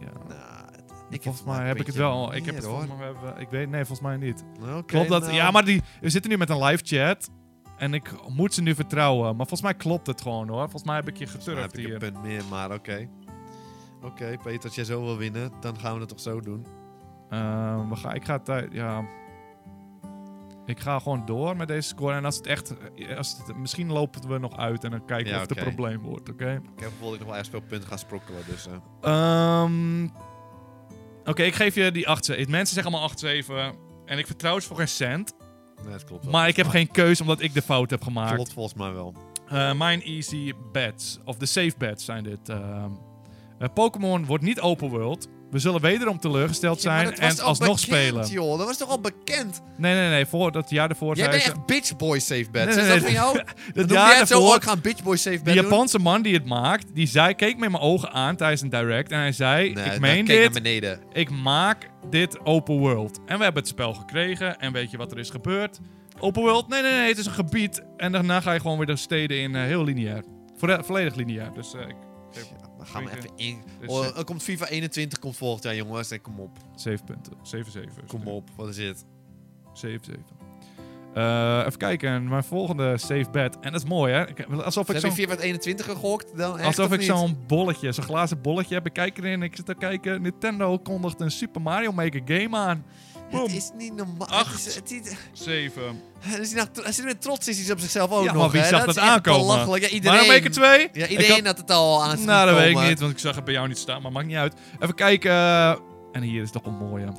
S1: Ja.
S2: Nou, het- heb
S1: volgens
S2: het
S1: mij
S2: maar
S1: heb
S2: een
S1: ik het
S2: beetje
S1: wel. Ik heb
S2: meer,
S1: het
S2: hoor.
S1: volgens mij... we hebben- Ik weet... Nee, volgens mij niet.
S2: Oké,
S1: Klopt dat?
S2: nou.
S1: Ja, maar die, we zitten nu met een live chat. En ik moet ze nu vertrouwen. Maar volgens mij klopt het gewoon hoor. Volgens mij heb ik je
S2: Dan
S1: geturfd
S2: heb ik een
S1: hier.
S2: punt meer, maar oké. Oké, Peter, als jij zo wil winnen, dan gaan we dat toch zo doen.
S1: Ehm, we gaan, ik ga tij- Ja. Ik ga gewoon door met deze score. En als het echt. eh, Als het, misschien lopen we nog uit en dan kijken
S2: Ja,
S1: of het
S2: oké.
S1: een probleem wordt. Oké.
S2: Ik heb bijvoorbeeld nog wel echt speelpunten gaan sprokkelen, dus... eh.
S1: Ehm, Oké, ik geef je die 8. Mensen zeggen allemaal 8-7. En ik vertrouw het voor geen cent.
S2: nee, dat klopt wel.
S1: Maar ik heb geen keus omdat ik de fout heb gemaakt.
S2: Klopt volgens mij wel.
S1: Eh, mijn easy bets, of de safe bets zijn dit. ehm. Eh, Pokémon wordt niet open world. We zullen wederom teleurgesteld
S2: Ja, maar
S1: zijn
S2: dat was
S1: en
S2: al
S1: alsnog spelen.
S2: bekend, joh. Dat was toch al bekend?
S1: Nee, nee, nee. Voor dat jaar ervoor
S2: Jij
S1: zei
S2: bent
S1: ze...
S2: echt bitch boy safe bet.
S1: Nee,
S2: Is
S1: nee,
S2: dat van jou?
S1: dat
S2: Noem
S1: jaar
S2: jij het zo,
S1: daarvoor,
S2: oh, ik ga een bitch boy safe
S1: die
S2: bet doen?
S1: Japanse man die het maakt, die zei, keek me in mijn ogen aan tijdens een direct. En hij zei,
S2: Nee,
S1: ik
S2: dan
S1: meen
S2: keek
S1: dit,
S2: naar beneden.
S1: ik maak dit open world. En we hebben het spel gekregen en weet je wat er is gebeurd? Open world, nee, nee, nee, het is een gebied. En daarna ga je gewoon weer de steden in, eh, heel lineair. Volle- volledig lineair, dus eh, ik geef
S2: Ja, we gaan maar
S1: Weet je.
S2: even in.
S1: Dus,
S2: Oh,
S1: eh,
S2: er komt FIFA 21 komt volgend jaar, jongens. En kom op.
S1: 7 punten. 7-7.
S2: Kom op. Wat is dit?
S1: 7-7. Eh, even kijken, mijn volgende safe bet. En dat is mooi, hè? Ik- Alsof ik
S2: Heb je
S1: zo'n
S2: FIFA 21 gegokt? Dan echt,
S1: alsof
S2: of
S1: ik
S2: niet?
S1: zo'n bolletje, zo'n glazen bolletje heb. Ik kijk erin, ik zit te kijken. Nintendo kondigt een Super Mario Maker game aan. Boom.
S2: Het is niet normaal.
S1: Acht.
S2: Het is, het is-
S1: 7.
S2: hij is nou, hij zit met trots is hij op zichzelf ook
S1: Ja,
S2: nog.
S1: maar wie
S2: hè.
S1: zag
S2: is
S1: dat
S2: echt
S1: aankomen?
S2: belachelijk. Ja, iedereen.
S1: Mario Maker 2?
S2: Ja,
S1: Ik had-
S2: iedereen had het al aan zien
S1: Nou, dat weet ik
S2: komen.
S1: niet, want ik zag het bij jou niet staan. Maar maakt niet uit. Even kijken. eh, en hier is toch wel mooi, hè?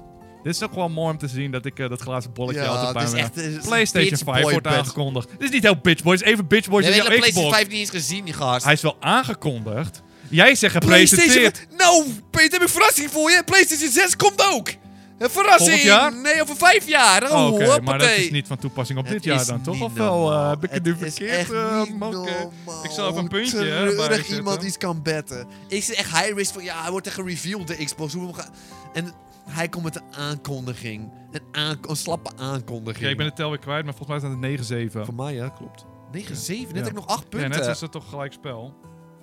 S1: Dit is toch wel mooi om te zien dat ik eh, dat glazen bolletje
S2: Ja,
S1: altijd bij
S2: het is
S1: me heb.
S2: echt... het is een
S1: PlayStation
S2: bitch
S1: 5
S2: boy
S1: wordt
S2: bet.
S1: aangekondigd. Dit is niet heel Bitch Boys, even Bitch Boys
S2: Je
S1: in
S2: hebt de
S1: jouw
S2: PlayStation
S1: Xbox.
S2: 5 niet eens gezien, die gast.
S1: Hij is wel aangekondigd. Jij zegt gepresenteerd.
S2: PlayStation... Nou, Peter, heb ik een verrassing voor je. PlayStation 6 komt ook. Een verrassing.
S1: Volgend jaar?
S2: Nee, over vijf jaar.
S1: Oh,
S2: Oh,
S1: Oké, maar dat
S2: hoppatee.
S1: is niet van toepassing op
S2: Het
S1: dit jaar
S2: is
S1: dan, toch?
S2: niet
S1: Of wel? eh,
S2: normaal.
S1: heb ik het nu
S2: is
S1: verkeerd?
S2: echt
S1: eh,
S2: niet
S1: Mokke?
S2: normaal
S1: Ik zal even een
S2: hoe
S1: puntje
S2: treurig
S1: erbij zetten.
S2: iemand iets kan betten. Ik zit echt high risk van, ja, hij wordt echt gereveeld, de Xbox. Hoe we hem gaan... En hij komt met een aankondiging. Een, aank- een slappe aankondiging.
S1: Oké, ik ben de tel weer kwijt, maar volgens mij staat het 9-7.
S2: Voor mij, ja, klopt. 9-7, net
S1: Ja.
S2: heb ik nog 8
S1: Ja,
S2: punten.
S1: net is het toch gelijk spel.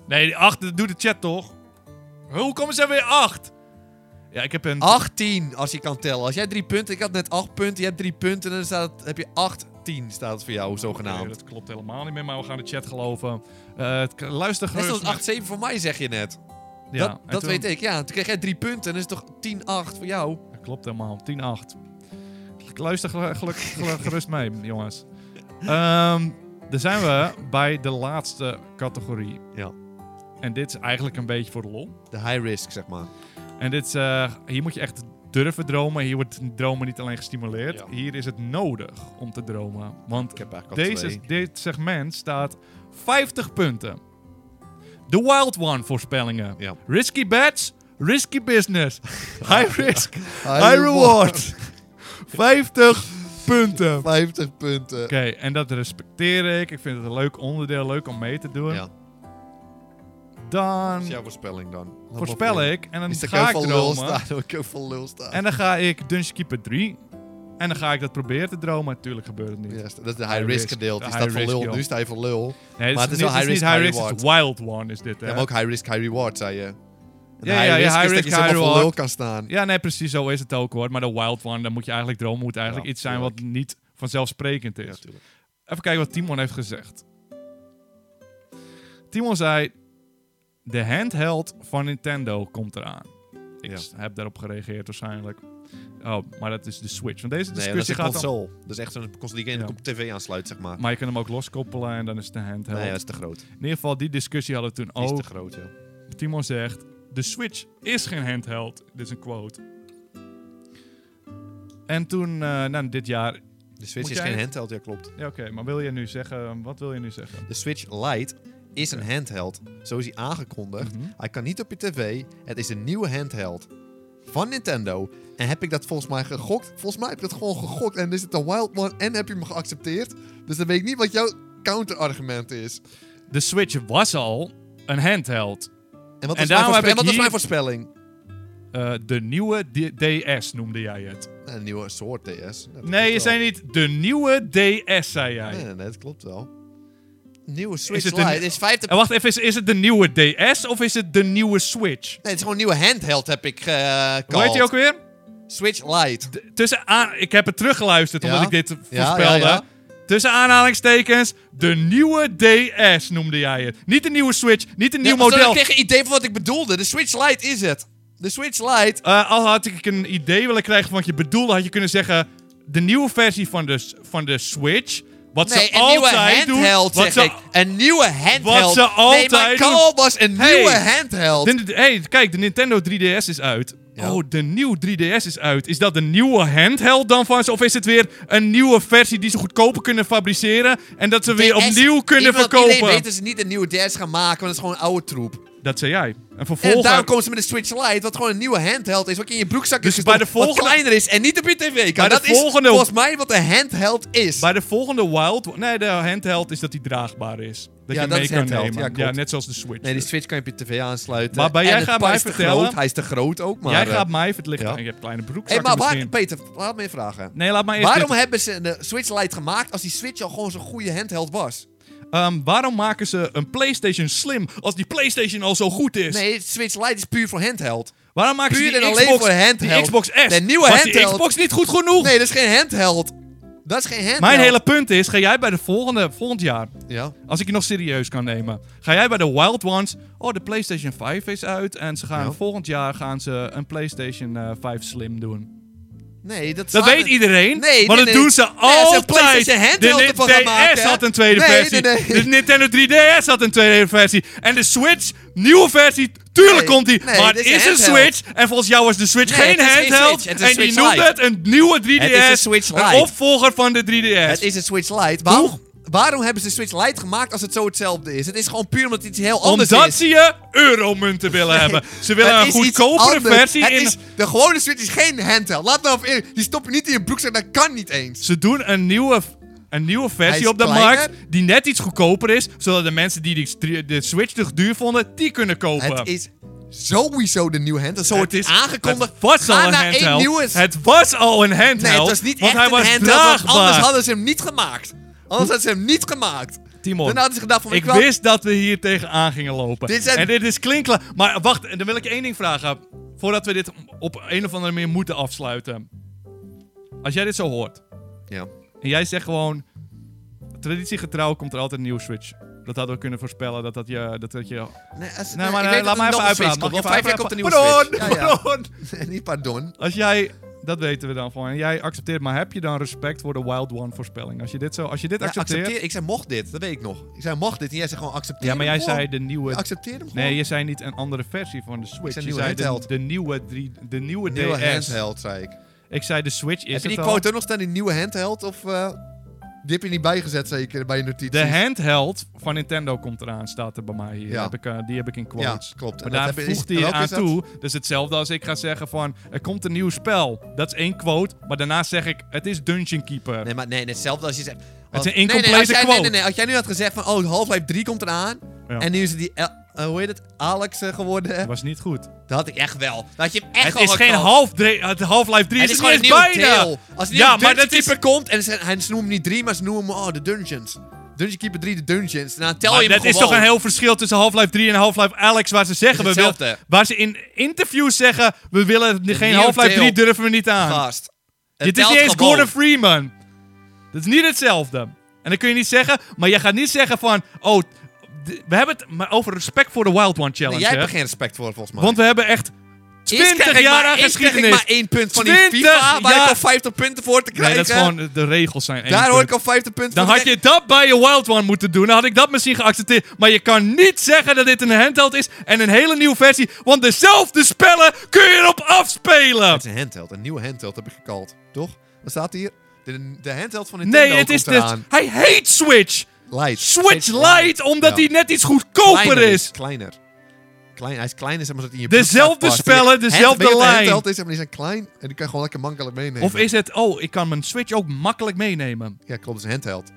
S1: Nee, die 8, dat doet de chat toch? Hoe komen ze weer 8? Ja, ik heb een...
S2: 18 als je kan tellen. Als jij 3 punten, ik had net 8 punten, je hebt 3 punten en dan staat het, heb je 18 staat het voor jou,
S1: Nee,
S2: zogenaamd.
S1: dat klopt helemaal niet meer, maar we gaan de chat geloven. Eh, het, luister
S2: Net
S1: gerust. naar-
S2: zoals 8-7 voor mij, zeg je net.
S1: Ja,
S2: dat
S1: en
S2: dat
S1: toen-
S2: weet ik, ja. Toen kreeg jij 3 punten en dan is het toch 10-8 voor jou.
S1: Dat klopt helemaal. 10-8. Ik Luister gelu- gelukkig gelu- gerust mee, jongens. Ehm dan zijn we bij de laatste categorie.
S2: Ja.
S1: En dit is eigenlijk een beetje voor de lol.
S2: De high risk, zeg maar.
S1: En dit is, eh, hier moet je echt durven dromen. Hier wordt dromen niet alleen gestimuleerd.
S2: Ja.
S1: Hier is het nodig om te dromen. Want
S2: Ik heb eigenlijk al
S1: deze,
S2: twee.
S1: dit segment staat 50 punten. The Wild One voorspellingen.
S2: Ja.
S1: Risky bets, risky business. High risk, high,
S2: reward.
S1: reward. 50 punten. Oké,
S2: 50 punten.
S1: en dat respecteer ik. Ik vind het een leuk onderdeel, leuk om mee te doen.
S2: Ja,
S1: Dan
S2: dat is jouw voorspelling dan.
S1: voorspel ik en dan
S2: Is er
S1: ga ik
S2: ook van lul
S1: dromen.
S2: staan? Ook heel veel lul staan.
S1: En dan ga ik Dungeon Keeper 3. En dan ga ik dat proberen te dromen. Tuurlijk gebeurt het niet.
S2: Ja, dat is de high risk
S1: risk.
S2: gedeelte. Die
S1: High
S2: staat van
S1: risk,
S2: lul.
S1: joh.
S2: Nu sta je van lul.
S1: Nee,
S2: Maar
S1: het is, niet, het is niet high risk, het is wild one is dit. Hè?
S2: Ja, maar ook high risk, high reward, zei je. En de
S1: Ja, ja, ja,
S2: is
S1: high
S2: dat
S1: risk,
S2: je
S1: high
S2: zomaar van
S1: reward.
S2: lul kan staan.
S1: Ja, nee, precies zo is het ook hoor. Maar de wild one, dan moet je eigenlijk dromen, moet eigenlijk
S2: Ja,
S1: iets zijn wat niet vanzelfsprekend is.
S2: tuurlijk.
S1: Even kijken wat Timon heeft gezegd. Timon zei: De handheld van Nintendo komt eraan. Ik
S2: Ja.
S1: s- heb daarop gereageerd waarschijnlijk. Oh, maar dat is Dus de Switch. Want deze
S2: Nee,
S1: discussie
S2: dat is een
S1: gaat dan...
S2: console. Dat is echt zo'n console die je in
S1: Ja.
S2: de tv aansluit, zeg maar.
S1: Maar je kunt hem ook loskoppelen en dan is het een handheld.
S2: Nee, dat is te groot.
S1: In ieder geval, die discussie hadden we toen
S2: Die is
S1: ook.
S2: te groot, joh.
S1: Timon zegt: De Switch is geen handheld. Dit is een quote. En toen, eh, nou, dit jaar.
S2: De Switch
S1: Moet
S2: is
S1: jij-
S2: geen handheld, ja klopt.
S1: Ja, oké, maar wil je nu zeggen. Wat wil je nu zeggen?
S2: De Switch Lite is een
S1: Ja.
S2: handheld. Zo is hij aangekondigd.
S1: Mhm.
S2: Hij kan niet op je tv. Het is een nieuwe handheld van Nintendo. En heb ik dat volgens mij gegokt? Volgens mij heb ik dat gewoon gegokt. En is het een wild one en heb je hem geaccepteerd? Dus dan weet ik niet wat jouw counterargument is.
S1: De Switch was al een handheld.
S2: En wat
S1: En
S2: is mijn,
S1: daarom heb
S2: voorspe-
S1: ik
S2: wat was
S1: hier-
S2: mijn voorspelling?
S1: Eh, de nieuwe D- DS noemde jij het.
S2: Eh, Een nieuwe soort DS. Dat
S1: Nee, je
S2: klopt
S1: zei
S2: wel.
S1: niet de nieuwe DS, zei jij.
S2: Nee, nee, nee, dat klopt wel. Nieuwe Switch
S1: het een-
S2: Lite is 50...
S1: En wacht even, is, is het de nieuwe DS of is het de nieuwe Switch?
S2: Nee, het is gewoon een nieuwe handheld heb ik
S1: Hoe heet
S2: gekald.
S1: die ook weer?
S2: Switch Lite.
S1: T- Tussen aan, ik heb het teruggeluisterd omdat
S2: Ja?
S1: ik dit
S2: Ja,
S1: voorspelde.
S2: ja, ja.
S1: Tussen aanhalingstekens, de nieuwe DS noemde jij het. Niet de nieuwe Switch, niet een nieuw
S2: Ja, zodat
S1: model.
S2: Ik kreeg een idee van wat ik bedoelde. De Switch Lite is het. De Switch Lite.
S1: Eh, al had ik een idee willen krijgen van wat je bedoelde, had je kunnen zeggen... De nieuwe versie van de, van de Switch, wat
S2: Nee,
S1: ze
S2: een nieuwe
S1: altijd doen...
S2: handheld,
S1: wat
S2: zeg
S1: ze
S2: ik. Een nieuwe handheld.
S1: ze
S2: Nee, mijn
S1: altijd
S2: call was een
S1: Hey.
S2: nieuwe handheld.
S1: De- de- hey, kijk, de Nintendo 3DS is uit.
S2: Ja.
S1: Oh, de nieuwe 3DS is uit. Is dat de nieuwe handheld dan van ze? Of is het weer een nieuwe versie die ze goedkoper kunnen fabriceren? En dat ze weer
S2: DS
S1: opnieuw kunnen
S2: iemand-
S1: verkopen?
S2: Iedereen weet dat ze niet een nieuwe DS gaan maken, want dat is gewoon een oude troep.
S1: Dat zei jij. En
S2: En daarom
S1: vervolgens...
S2: komen ze met de Switch Lite, wat gewoon een nieuwe handheld is, wat je in je broekzak
S1: Dus
S2: is
S1: bij
S2: gestopt,
S1: de volgende-
S2: wat kleiner is en niet op je tv kan.
S1: Bij de
S2: Dat
S1: volgende-
S2: is volgens mij wat een handheld is.
S1: Bij de volgende Wild... Nee, de handheld is dat die draagbaar is. Dat
S2: Ja,
S1: je
S2: dat
S1: mee
S2: is
S1: kan
S2: handheld. Ja,
S1: nemen.
S2: klopt.
S1: Ja, net zoals de Switch.
S2: Nee, die
S1: dus.
S2: Switch kan je op je tv aansluiten.
S1: Maar bij-
S2: En
S1: jij
S2: het
S1: gaat
S2: pad
S1: mij
S2: is te
S1: vertellen-
S2: groot. Hij is te groot ook, maar...
S1: jij
S2: eh,
S1: gaat mij vertellen...
S2: ja.
S1: Ik heb kleine
S2: Hé,
S1: broekzakken
S2: maar waar,
S1: misschien.
S2: Peter, laat me je vragen.
S1: Nee, laat maar eerst
S2: Waarom
S1: dit-
S2: hebben ze de Switch Lite gemaakt als die Switch al gewoon zo'n goede handheld was?
S1: Ehm, waarom maken ze een PlayStation slim als die PlayStation al zo goed is?
S2: Nee, Switch Lite is puur voor handheld.
S1: Waarom maken
S2: Puur
S1: ze die
S2: en
S1: Xbox,
S2: alleen voor handheld.
S1: die Xbox S?
S2: De nieuwe
S1: Was die
S2: handheld.
S1: Xbox niet goed genoeg?
S2: Nee, dat is geen handheld. Dat is geen handheld.
S1: Mijn hele punt is, ga jij bij de volgende, volgend jaar,
S2: Ja.
S1: als ik je nog serieus kan nemen, ga jij bij de Wild Ones, oh de PlayStation 5 is uit en ze gaan
S2: Ja.
S1: volgend jaar gaan ze een PlayStation eh, 5 Slim doen.
S2: Nee, dat
S1: Dat
S2: staat-
S1: weet iedereen,
S2: Nee,
S1: maar
S2: nee,
S1: dat
S2: nee.
S1: doen ze
S2: Nee, ze hebben
S1: altijd.
S2: PlayStation handheld
S1: de
S2: ervan
S1: DS
S2: gemaakt, hè?
S1: had een tweede
S2: Nee,
S1: versie,
S2: nee, nee.
S1: de Nintendo 3DS had een tweede versie en de Switch, nieuwe versie, tuurlijk
S2: Nee,
S1: komt die,
S2: nee,
S1: maar
S2: dit
S1: het
S2: is een
S1: is een
S2: handheld.
S1: Switch en volgens jou was de Switch
S2: Nee,
S1: geen
S2: het is geen
S1: handheld
S2: Switch, het is
S1: en
S2: een
S1: die
S2: Switch
S1: noemde het een nieuwe 3DS,
S2: Het is een Switch Lite.
S1: opvolger van de 3DS.
S2: Het is een Switch Lite. Waarom, waarom hebben ze Switch Lite gemaakt als het zo hetzelfde is? Het is gewoon puur omdat het iets heel anders
S1: Omdat
S2: is.
S1: ze je euromunten willen hebben. Ze willen
S2: Het
S1: een
S2: is iets
S1: goedkopere
S2: anders.
S1: versie.
S2: Het
S1: In...
S2: is, de gewone Switch is geen handheld. Laat nou even eerlijk. Die stop je niet in je broekzak, dat kan niet eens.
S1: Ze doen een nieuwe, een nieuwe
S2: Hij
S1: versie
S2: is
S1: op de
S2: kleiner.
S1: markt die net iets goedkoper is. Zodat de mensen die die- de Switch te duur vonden, die kunnen kopen.
S2: Het is sowieso de nieuwe handheld. Zo wordt het aangekondigd.
S1: Het was
S2: Ga
S1: al een
S2: naar één
S1: handheld.
S2: nieuwe s-
S1: Het was al een handheld.
S2: Nee, het was niet
S1: want
S2: echt
S1: hij
S2: een
S1: was
S2: handheld, want
S1: draagbaar.
S2: anders hadden ze hem niet gemaakt. Anders hadden ze hem niet gemaakt.
S1: Timon,
S2: Dan hadden ze gedacht van,
S1: Ik
S2: weet je wat?
S1: wist dat we hier tegenaan gingen lopen.
S2: Dit zijn-
S1: En dit is klinkla. Maar wacht, en dan wil ik één ding vragen. Voordat we dit op een of andere manier moeten afsluiten. Als jij dit zo hoort.
S2: Ja.
S1: En jij zegt gewoon... Traditiegetrouw komt er altijd een nieuwe Switch. Dat hadden we kunnen voorspellen. Dat dat je... Dat dat je... Nee,
S2: Nee, als,
S1: maar
S2: ik
S1: nee,
S2: weet
S1: laat
S2: dat
S1: mij
S2: er
S1: even
S2: nog een Switch
S1: uitpraten. Mag
S2: komt.
S1: ik even
S2: Over vijf jaar komt er een nieuwe
S1: uitpraten?
S2: Switch.
S1: Pardon, pardon.
S2: Ja, ja. niet pardon.
S1: Als jij... Dat weten we dan van. En jij accepteert. Maar heb je dan respect voor de Wild One voorspelling? Als je dit, zo, als je dit
S2: Ja,
S1: accepteert...
S2: accepteer. Ik zei mocht dit, dat weet ik nog. Ik zei mocht dit en jij zei gewoon accepteer
S1: Ja, maar
S2: hem
S1: jij
S2: gewoon.
S1: zei de nieuwe...
S2: Accepteer hem gewoon.
S1: Nee, je zei niet een andere versie van de Switch.
S2: zei
S1: je
S2: nieuwe
S1: zei de,
S2: handheld.
S1: de nieuwe, drie, de nieuwe,
S2: nieuwe
S1: DS.
S2: handheld, zei ik.
S1: Ik zei de Switch is
S2: Heb je
S1: het
S2: die
S1: al.
S2: quote ook nog staan, die nieuwe handheld? Of, eh, Die heb je niet bijgezet zeker bij je notities.
S1: De handheld van Nintendo komt eraan, staat er bij mij hier.
S2: Ja.
S1: Heb ik, eh, die heb ik in
S2: Ja,
S1: quotes.
S2: klopt.
S1: Maar
S2: En dat
S1: daar
S2: heb je- is-
S1: voegt hij
S2: welke
S1: aan
S2: is dat?
S1: toe. Dus hetzelfde als ik ga zeggen van... Er komt een nieuw spel. Dat is één quote. Maar daarna zeg ik... Het is Dungeon Keeper.
S2: Nee, maar nee, hetzelfde als je zegt...
S1: Het
S2: want-
S1: is een
S2: nee, nee, als
S1: incomplete
S2: jij-
S1: quote.
S2: Nee, nee, nee, als jij nu had gezegd van, oh, Half-Life 3 komt eraan.
S1: Ja.
S2: En nu is het die, eh, eh, hoe heet het, Alex eh, geworden.
S1: Dat was niet goed.
S2: Dat had ik echt wel. Dat had je hem echt
S1: het
S2: wel
S1: is geen
S2: geknald.
S1: half dre- het Half-Life 3
S2: Het
S1: is,
S2: is
S1: er
S2: gewoon
S1: niet
S2: een
S1: eens
S2: nieuwe
S1: bijna.
S2: deel. Als er
S1: ja,
S2: ja,
S1: maar dat is...
S2: Keeper komt en ze, hij noemt hem niet drie, maar ze noemen hem, oh, de Dungeons. Dungeon Keeper 3, de Dungeons. Nou, tel
S1: maar
S2: je hem
S1: dat is
S2: gewoon.
S1: toch een heel verschil tussen Half-Life 3 en Half-Life Alex, waar ze zeggen...
S2: Het
S1: We
S2: is
S1: wil,
S2: hetzelfde.
S1: waar ze in interviews zeggen... We willen geen
S2: nieuwe
S1: Half-Life 3,
S2: deel.
S1: durven we niet aan.
S2: Gast. Het
S1: Dit is
S2: telt
S1: niet eens
S2: gewoon.
S1: Gordon Freeman. Dat is niet hetzelfde. En dan kun je niet zeggen, maar jij gaat niet zeggen van, oh, d- we hebben het maar over respect voor de Wild One Challenge.
S2: Nee, jij hebt
S1: hè?
S2: er geen respect voor, volgens mij.
S1: Want we hebben echt
S2: Eerst krijg
S1: 20
S2: ik maar-
S1: jaar aan
S2: eerst krijg
S1: geschiedenis.
S2: ik maar één punt van die
S1: 20
S2: FIFA, waar
S1: jaar-
S2: ik al 50 punten voor te
S1: Nee,
S2: krijgen.
S1: dat is gewoon, de regels zijn één
S2: Daar hoor
S1: punt.
S2: ik al 50 punten
S1: Dan
S2: voor
S1: had
S2: te
S1: je dat bij je Wild One moeten doen. Dan had ik dat misschien geaccepteerd. Maar je kan niet zeggen dat dit een handheld is en een hele nieuwe versie. Want dezelfde spellen kun je erop afspelen.
S2: Het is een handheld, een nieuwe handheld heb ik gekald, toch? Wat staat hier? De, de handheld van Nintendo
S1: Nee, het is
S2: komt
S1: dus...
S2: eraan.
S1: Hij heet Switch.
S2: Light.
S1: Switch Lite, omdat
S2: Ja.
S1: hij net iets goedkoper
S2: Kleiner
S1: is.
S2: Kleiner. Klein, hij is kleiner, zeg maar, dat hij in je
S1: Dezelfde
S2: broekzak past.
S1: spellen,
S2: Die-
S1: dezelfde
S2: hand- weet je wat een
S1: lijn.
S2: handheld is, zeg maar, die zijn klein en die kan je gewoon lekker makkelijk meenemen.
S1: Of is het, oh, ik kan mijn Switch ook makkelijk meenemen.
S2: Ja, klopt, het is een handheld.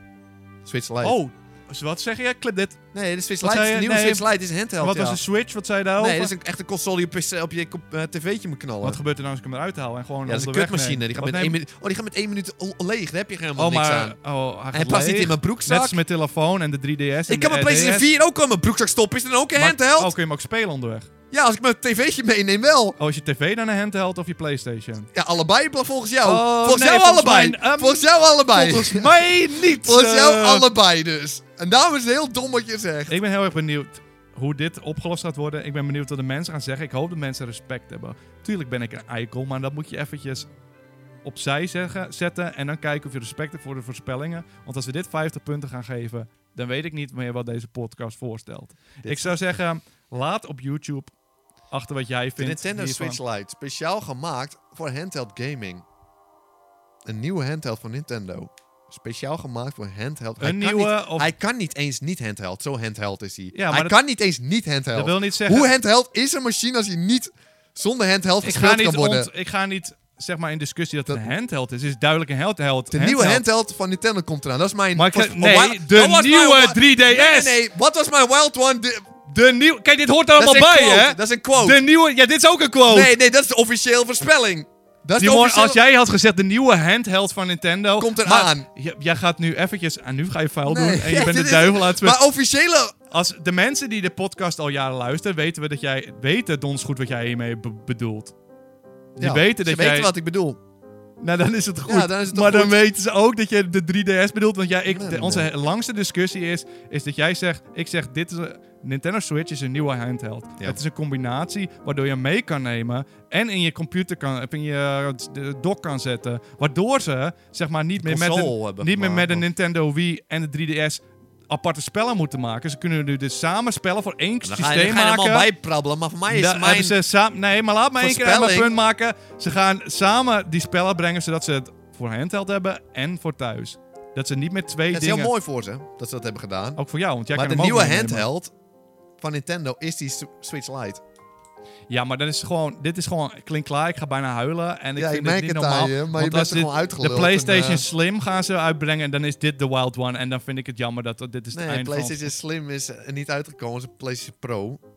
S2: Switch Lite.
S1: Oh, dus wat zeg je? Clip dit.
S2: Nee, de Switch
S1: Wat
S2: Lite
S1: zei
S2: is de
S1: je?
S2: nieuwe
S1: Nee,
S2: Switch Lite is een handheld,
S1: wat
S2: ja.
S1: was de Switch? Wat zei je daarover?
S2: Nee, dat is een, echt een console die op je, op je kop- eh, tv'tje moet knallen.
S1: Oh, Wat gebeurt er nou als ik hem eruit haal en gewoon
S2: ja, dat is een
S1: onderweg
S2: kutmachine.
S1: neem?
S2: Die gaat,
S1: Wat
S2: met één
S1: neem-
S2: minuut, oh, die gaat met één minuut o- leeg. Daar heb je helemaal
S1: Oh,
S2: niks
S1: maar...
S2: aan.
S1: Oh, hij
S2: En
S1: gaat
S2: hij past niet
S1: leeg.
S2: in mijn
S1: Net
S2: broekzak.
S1: als mijn telefoon en de 3DS. en
S2: Ik kan
S1: de
S2: mijn PlayStation 4 ook al in mijn broekzak stoppen. Is dat dan ook een
S1: E Maar-
S2: handheld?
S1: Oh, kun je hem ook spelen onderweg?
S2: Ja, als ik mijn tv'tje meeneem wel.
S1: Oh, is je tv dan een handheld of je PlayStation?
S2: Ja, allebei bla- volgens jou.
S1: Oh,
S2: volgens,
S1: nee,
S2: jou
S1: volgens
S2: allebei.
S1: mij, ehm,
S2: volgens jou allebei.
S1: Volgens mij niet.
S2: Volgens jou
S1: eh.
S2: allebei dus. En daarom is het heel dom wat je zegt.
S1: Ik ben heel erg benieuwd hoe dit opgelost gaat worden. Ik ben benieuwd wat de mensen gaan zeggen. Ik hoop dat mensen respect hebben. Tuurlijk ben ik een eikel, maar dat moet je eventjes opzij zeggen, zetten. En dan kijken of je respect hebt voor de voorspellingen. Want als we dit 50 punten gaan geven, dan weet ik niet meer wat deze podcast voorstelt.
S2: Dit-
S1: Ik zou zeggen, laat op YouTube achter wat jij vindt.
S2: De Nintendo
S1: hiervan.
S2: Switch Lite, speciaal gemaakt voor handheld gaming. Een nieuwe handheld van Nintendo. Speciaal gemaakt voor handheld.
S1: Een
S2: hij
S1: nieuwe
S2: Kan niet,
S1: of-
S2: Hij kan niet eens niet handheld. Zo handheld is hij.
S1: Ja, maar
S2: hij
S1: dat-
S2: kan niet eens niet handheld.
S1: Dat wil niet zeggen...
S2: Hoe handheld is een machine als je niet zonder handheld
S1: ik, ga
S2: gespeeld kan
S1: niet
S2: worden?
S1: ont- ik ga niet, zeg maar, in discussie dat, het
S2: Dat-
S1: een handheld is. Het is duidelijk een handheld.
S2: De nieuwe handheld van Nintendo komt eraan. Dat is mijn...
S1: Maar ik-
S2: was- oh,
S1: nee,
S2: wa-
S1: de
S2: dat was mijn
S1: nieuwe
S2: wa-
S1: 3DS.
S2: Nee, nee, nee. Wat was mijn Wild One? De-
S1: De nieuwe... Kijk, dit hoort er
S2: dat is
S1: allemaal
S2: een
S1: bij,
S2: quote.
S1: hè?
S2: Dat is een quote.
S1: De nieuwe... Ja, dit is ook een quote.
S2: Nee, nee, dat is de officieel voorspelling. Dat is de
S1: Simon,
S2: officieel-
S1: als jij had gezegd de nieuwe handheld van Nintendo...
S2: Komt
S1: er
S2: eraan.
S1: aan. jij gaat nu eventjes... En nu ga je vuil
S2: Nee,
S1: doen en je bent de
S2: dit is-
S1: duivel aan het spelen.
S2: Maar officiële...
S1: Als de mensen die de podcast al jaren luisteren... weten we dat jij... weten dons goed wat jij hiermee be- bedoelt. Die
S2: Ja,
S1: weten
S2: ze
S1: dat jij...
S2: weten wat ik bedoel.
S1: Nou, dan is het goed.
S2: Ja, dan is het toch
S1: maar dan
S2: goed.
S1: weten ze ook dat je de 3DS bedoelt. Want jij, ik,
S2: Nee,
S1: de-
S2: nee,
S1: onze
S2: nee.
S1: langste discussie is, is dat jij zegt... Ik zeg, dit is een- Nintendo Switch is een nieuwe handheld.
S2: Ja.
S1: Het is een combinatie waardoor je hem mee kan nemen... en in je computer kan, of in je eh, de dock kan zetten. Waardoor ze, zeg maar, niet, meer met,
S2: console
S1: een,
S2: hebben
S1: niet meer
S2: gemaakt,
S1: met een
S2: want-
S1: Nintendo Wii en de 3DS... aparte spellen moeten maken. Ze kunnen nu dus samen spellen voor één
S2: Dan ga je, dan
S1: systeem
S2: ga je allemaal
S1: maken.
S2: bijprabbelen, maar voor mij is
S1: Daar
S2: mijn...
S1: hebben ze samen. Nee, maar laat me één keer mijn
S2: Voorspelling.
S1: punt maken. Ze gaan samen die spellen brengen zodat ze het voor handheld hebben en voor thuis. Dat ze niet meer twee
S2: Dat is
S1: dingen.
S2: heel mooi voor ze, dat ze dat hebben gedaan.
S1: Ook voor jou, want jij
S2: maar
S1: kan
S2: de
S1: hem ook
S2: nieuwe
S1: meenemen.
S2: handheld van Nintendo is die Su- Switch Lite.
S1: Ja, maar dat is gewoon, dit is gewoon klinkklaar. Ik ga bijna huilen. En ik
S2: ja,
S1: vind
S2: ik merk
S1: dit
S2: het
S1: niet
S2: aan
S1: normaal.
S2: je, maar
S1: want
S2: je
S1: als
S2: bent er
S1: dit-
S2: gewoon uitgeluld.
S1: De
S2: en,
S1: PlayStation
S2: eh,
S1: Slim gaan ze uitbrengen en dan is dit de Wild One. En dan vind ik het jammer dat dat- dit is het
S2: nee,
S1: eind
S2: PlayStation Slim is eh, niet uitgekomen, het is een PlayStation Pro.
S1: van...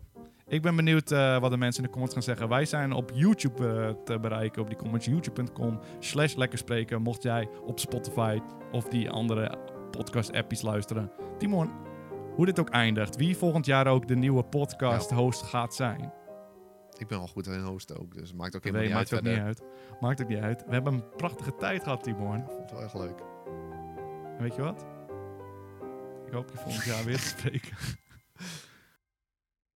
S1: Ik ben benieuwd eh, wat de mensen in de comments gaan zeggen. Wij zijn op YouTube eh, te bereiken, op die comments. YouTube.com slash lekker spreken. Mocht jij op Spotify of die andere podcast-appies luisteren. Timon, hoe dit ook eindigt. Wie volgend jaar ook de nieuwe
S2: Nou,
S1: podcast-host gaat zijn.
S2: Ik ben wel goed in hosten ook, dus het maakt ook
S1: Dat
S2: helemaal niet uit
S1: maakt ook niet
S2: verder.
S1: uit. Maakt ook niet uit. We hebben een prachtige tijd gehad, Timon.
S2: Ik vond het wel echt leuk.
S1: En weet je wat? Ik hoop je volgend jaar weer te spreken.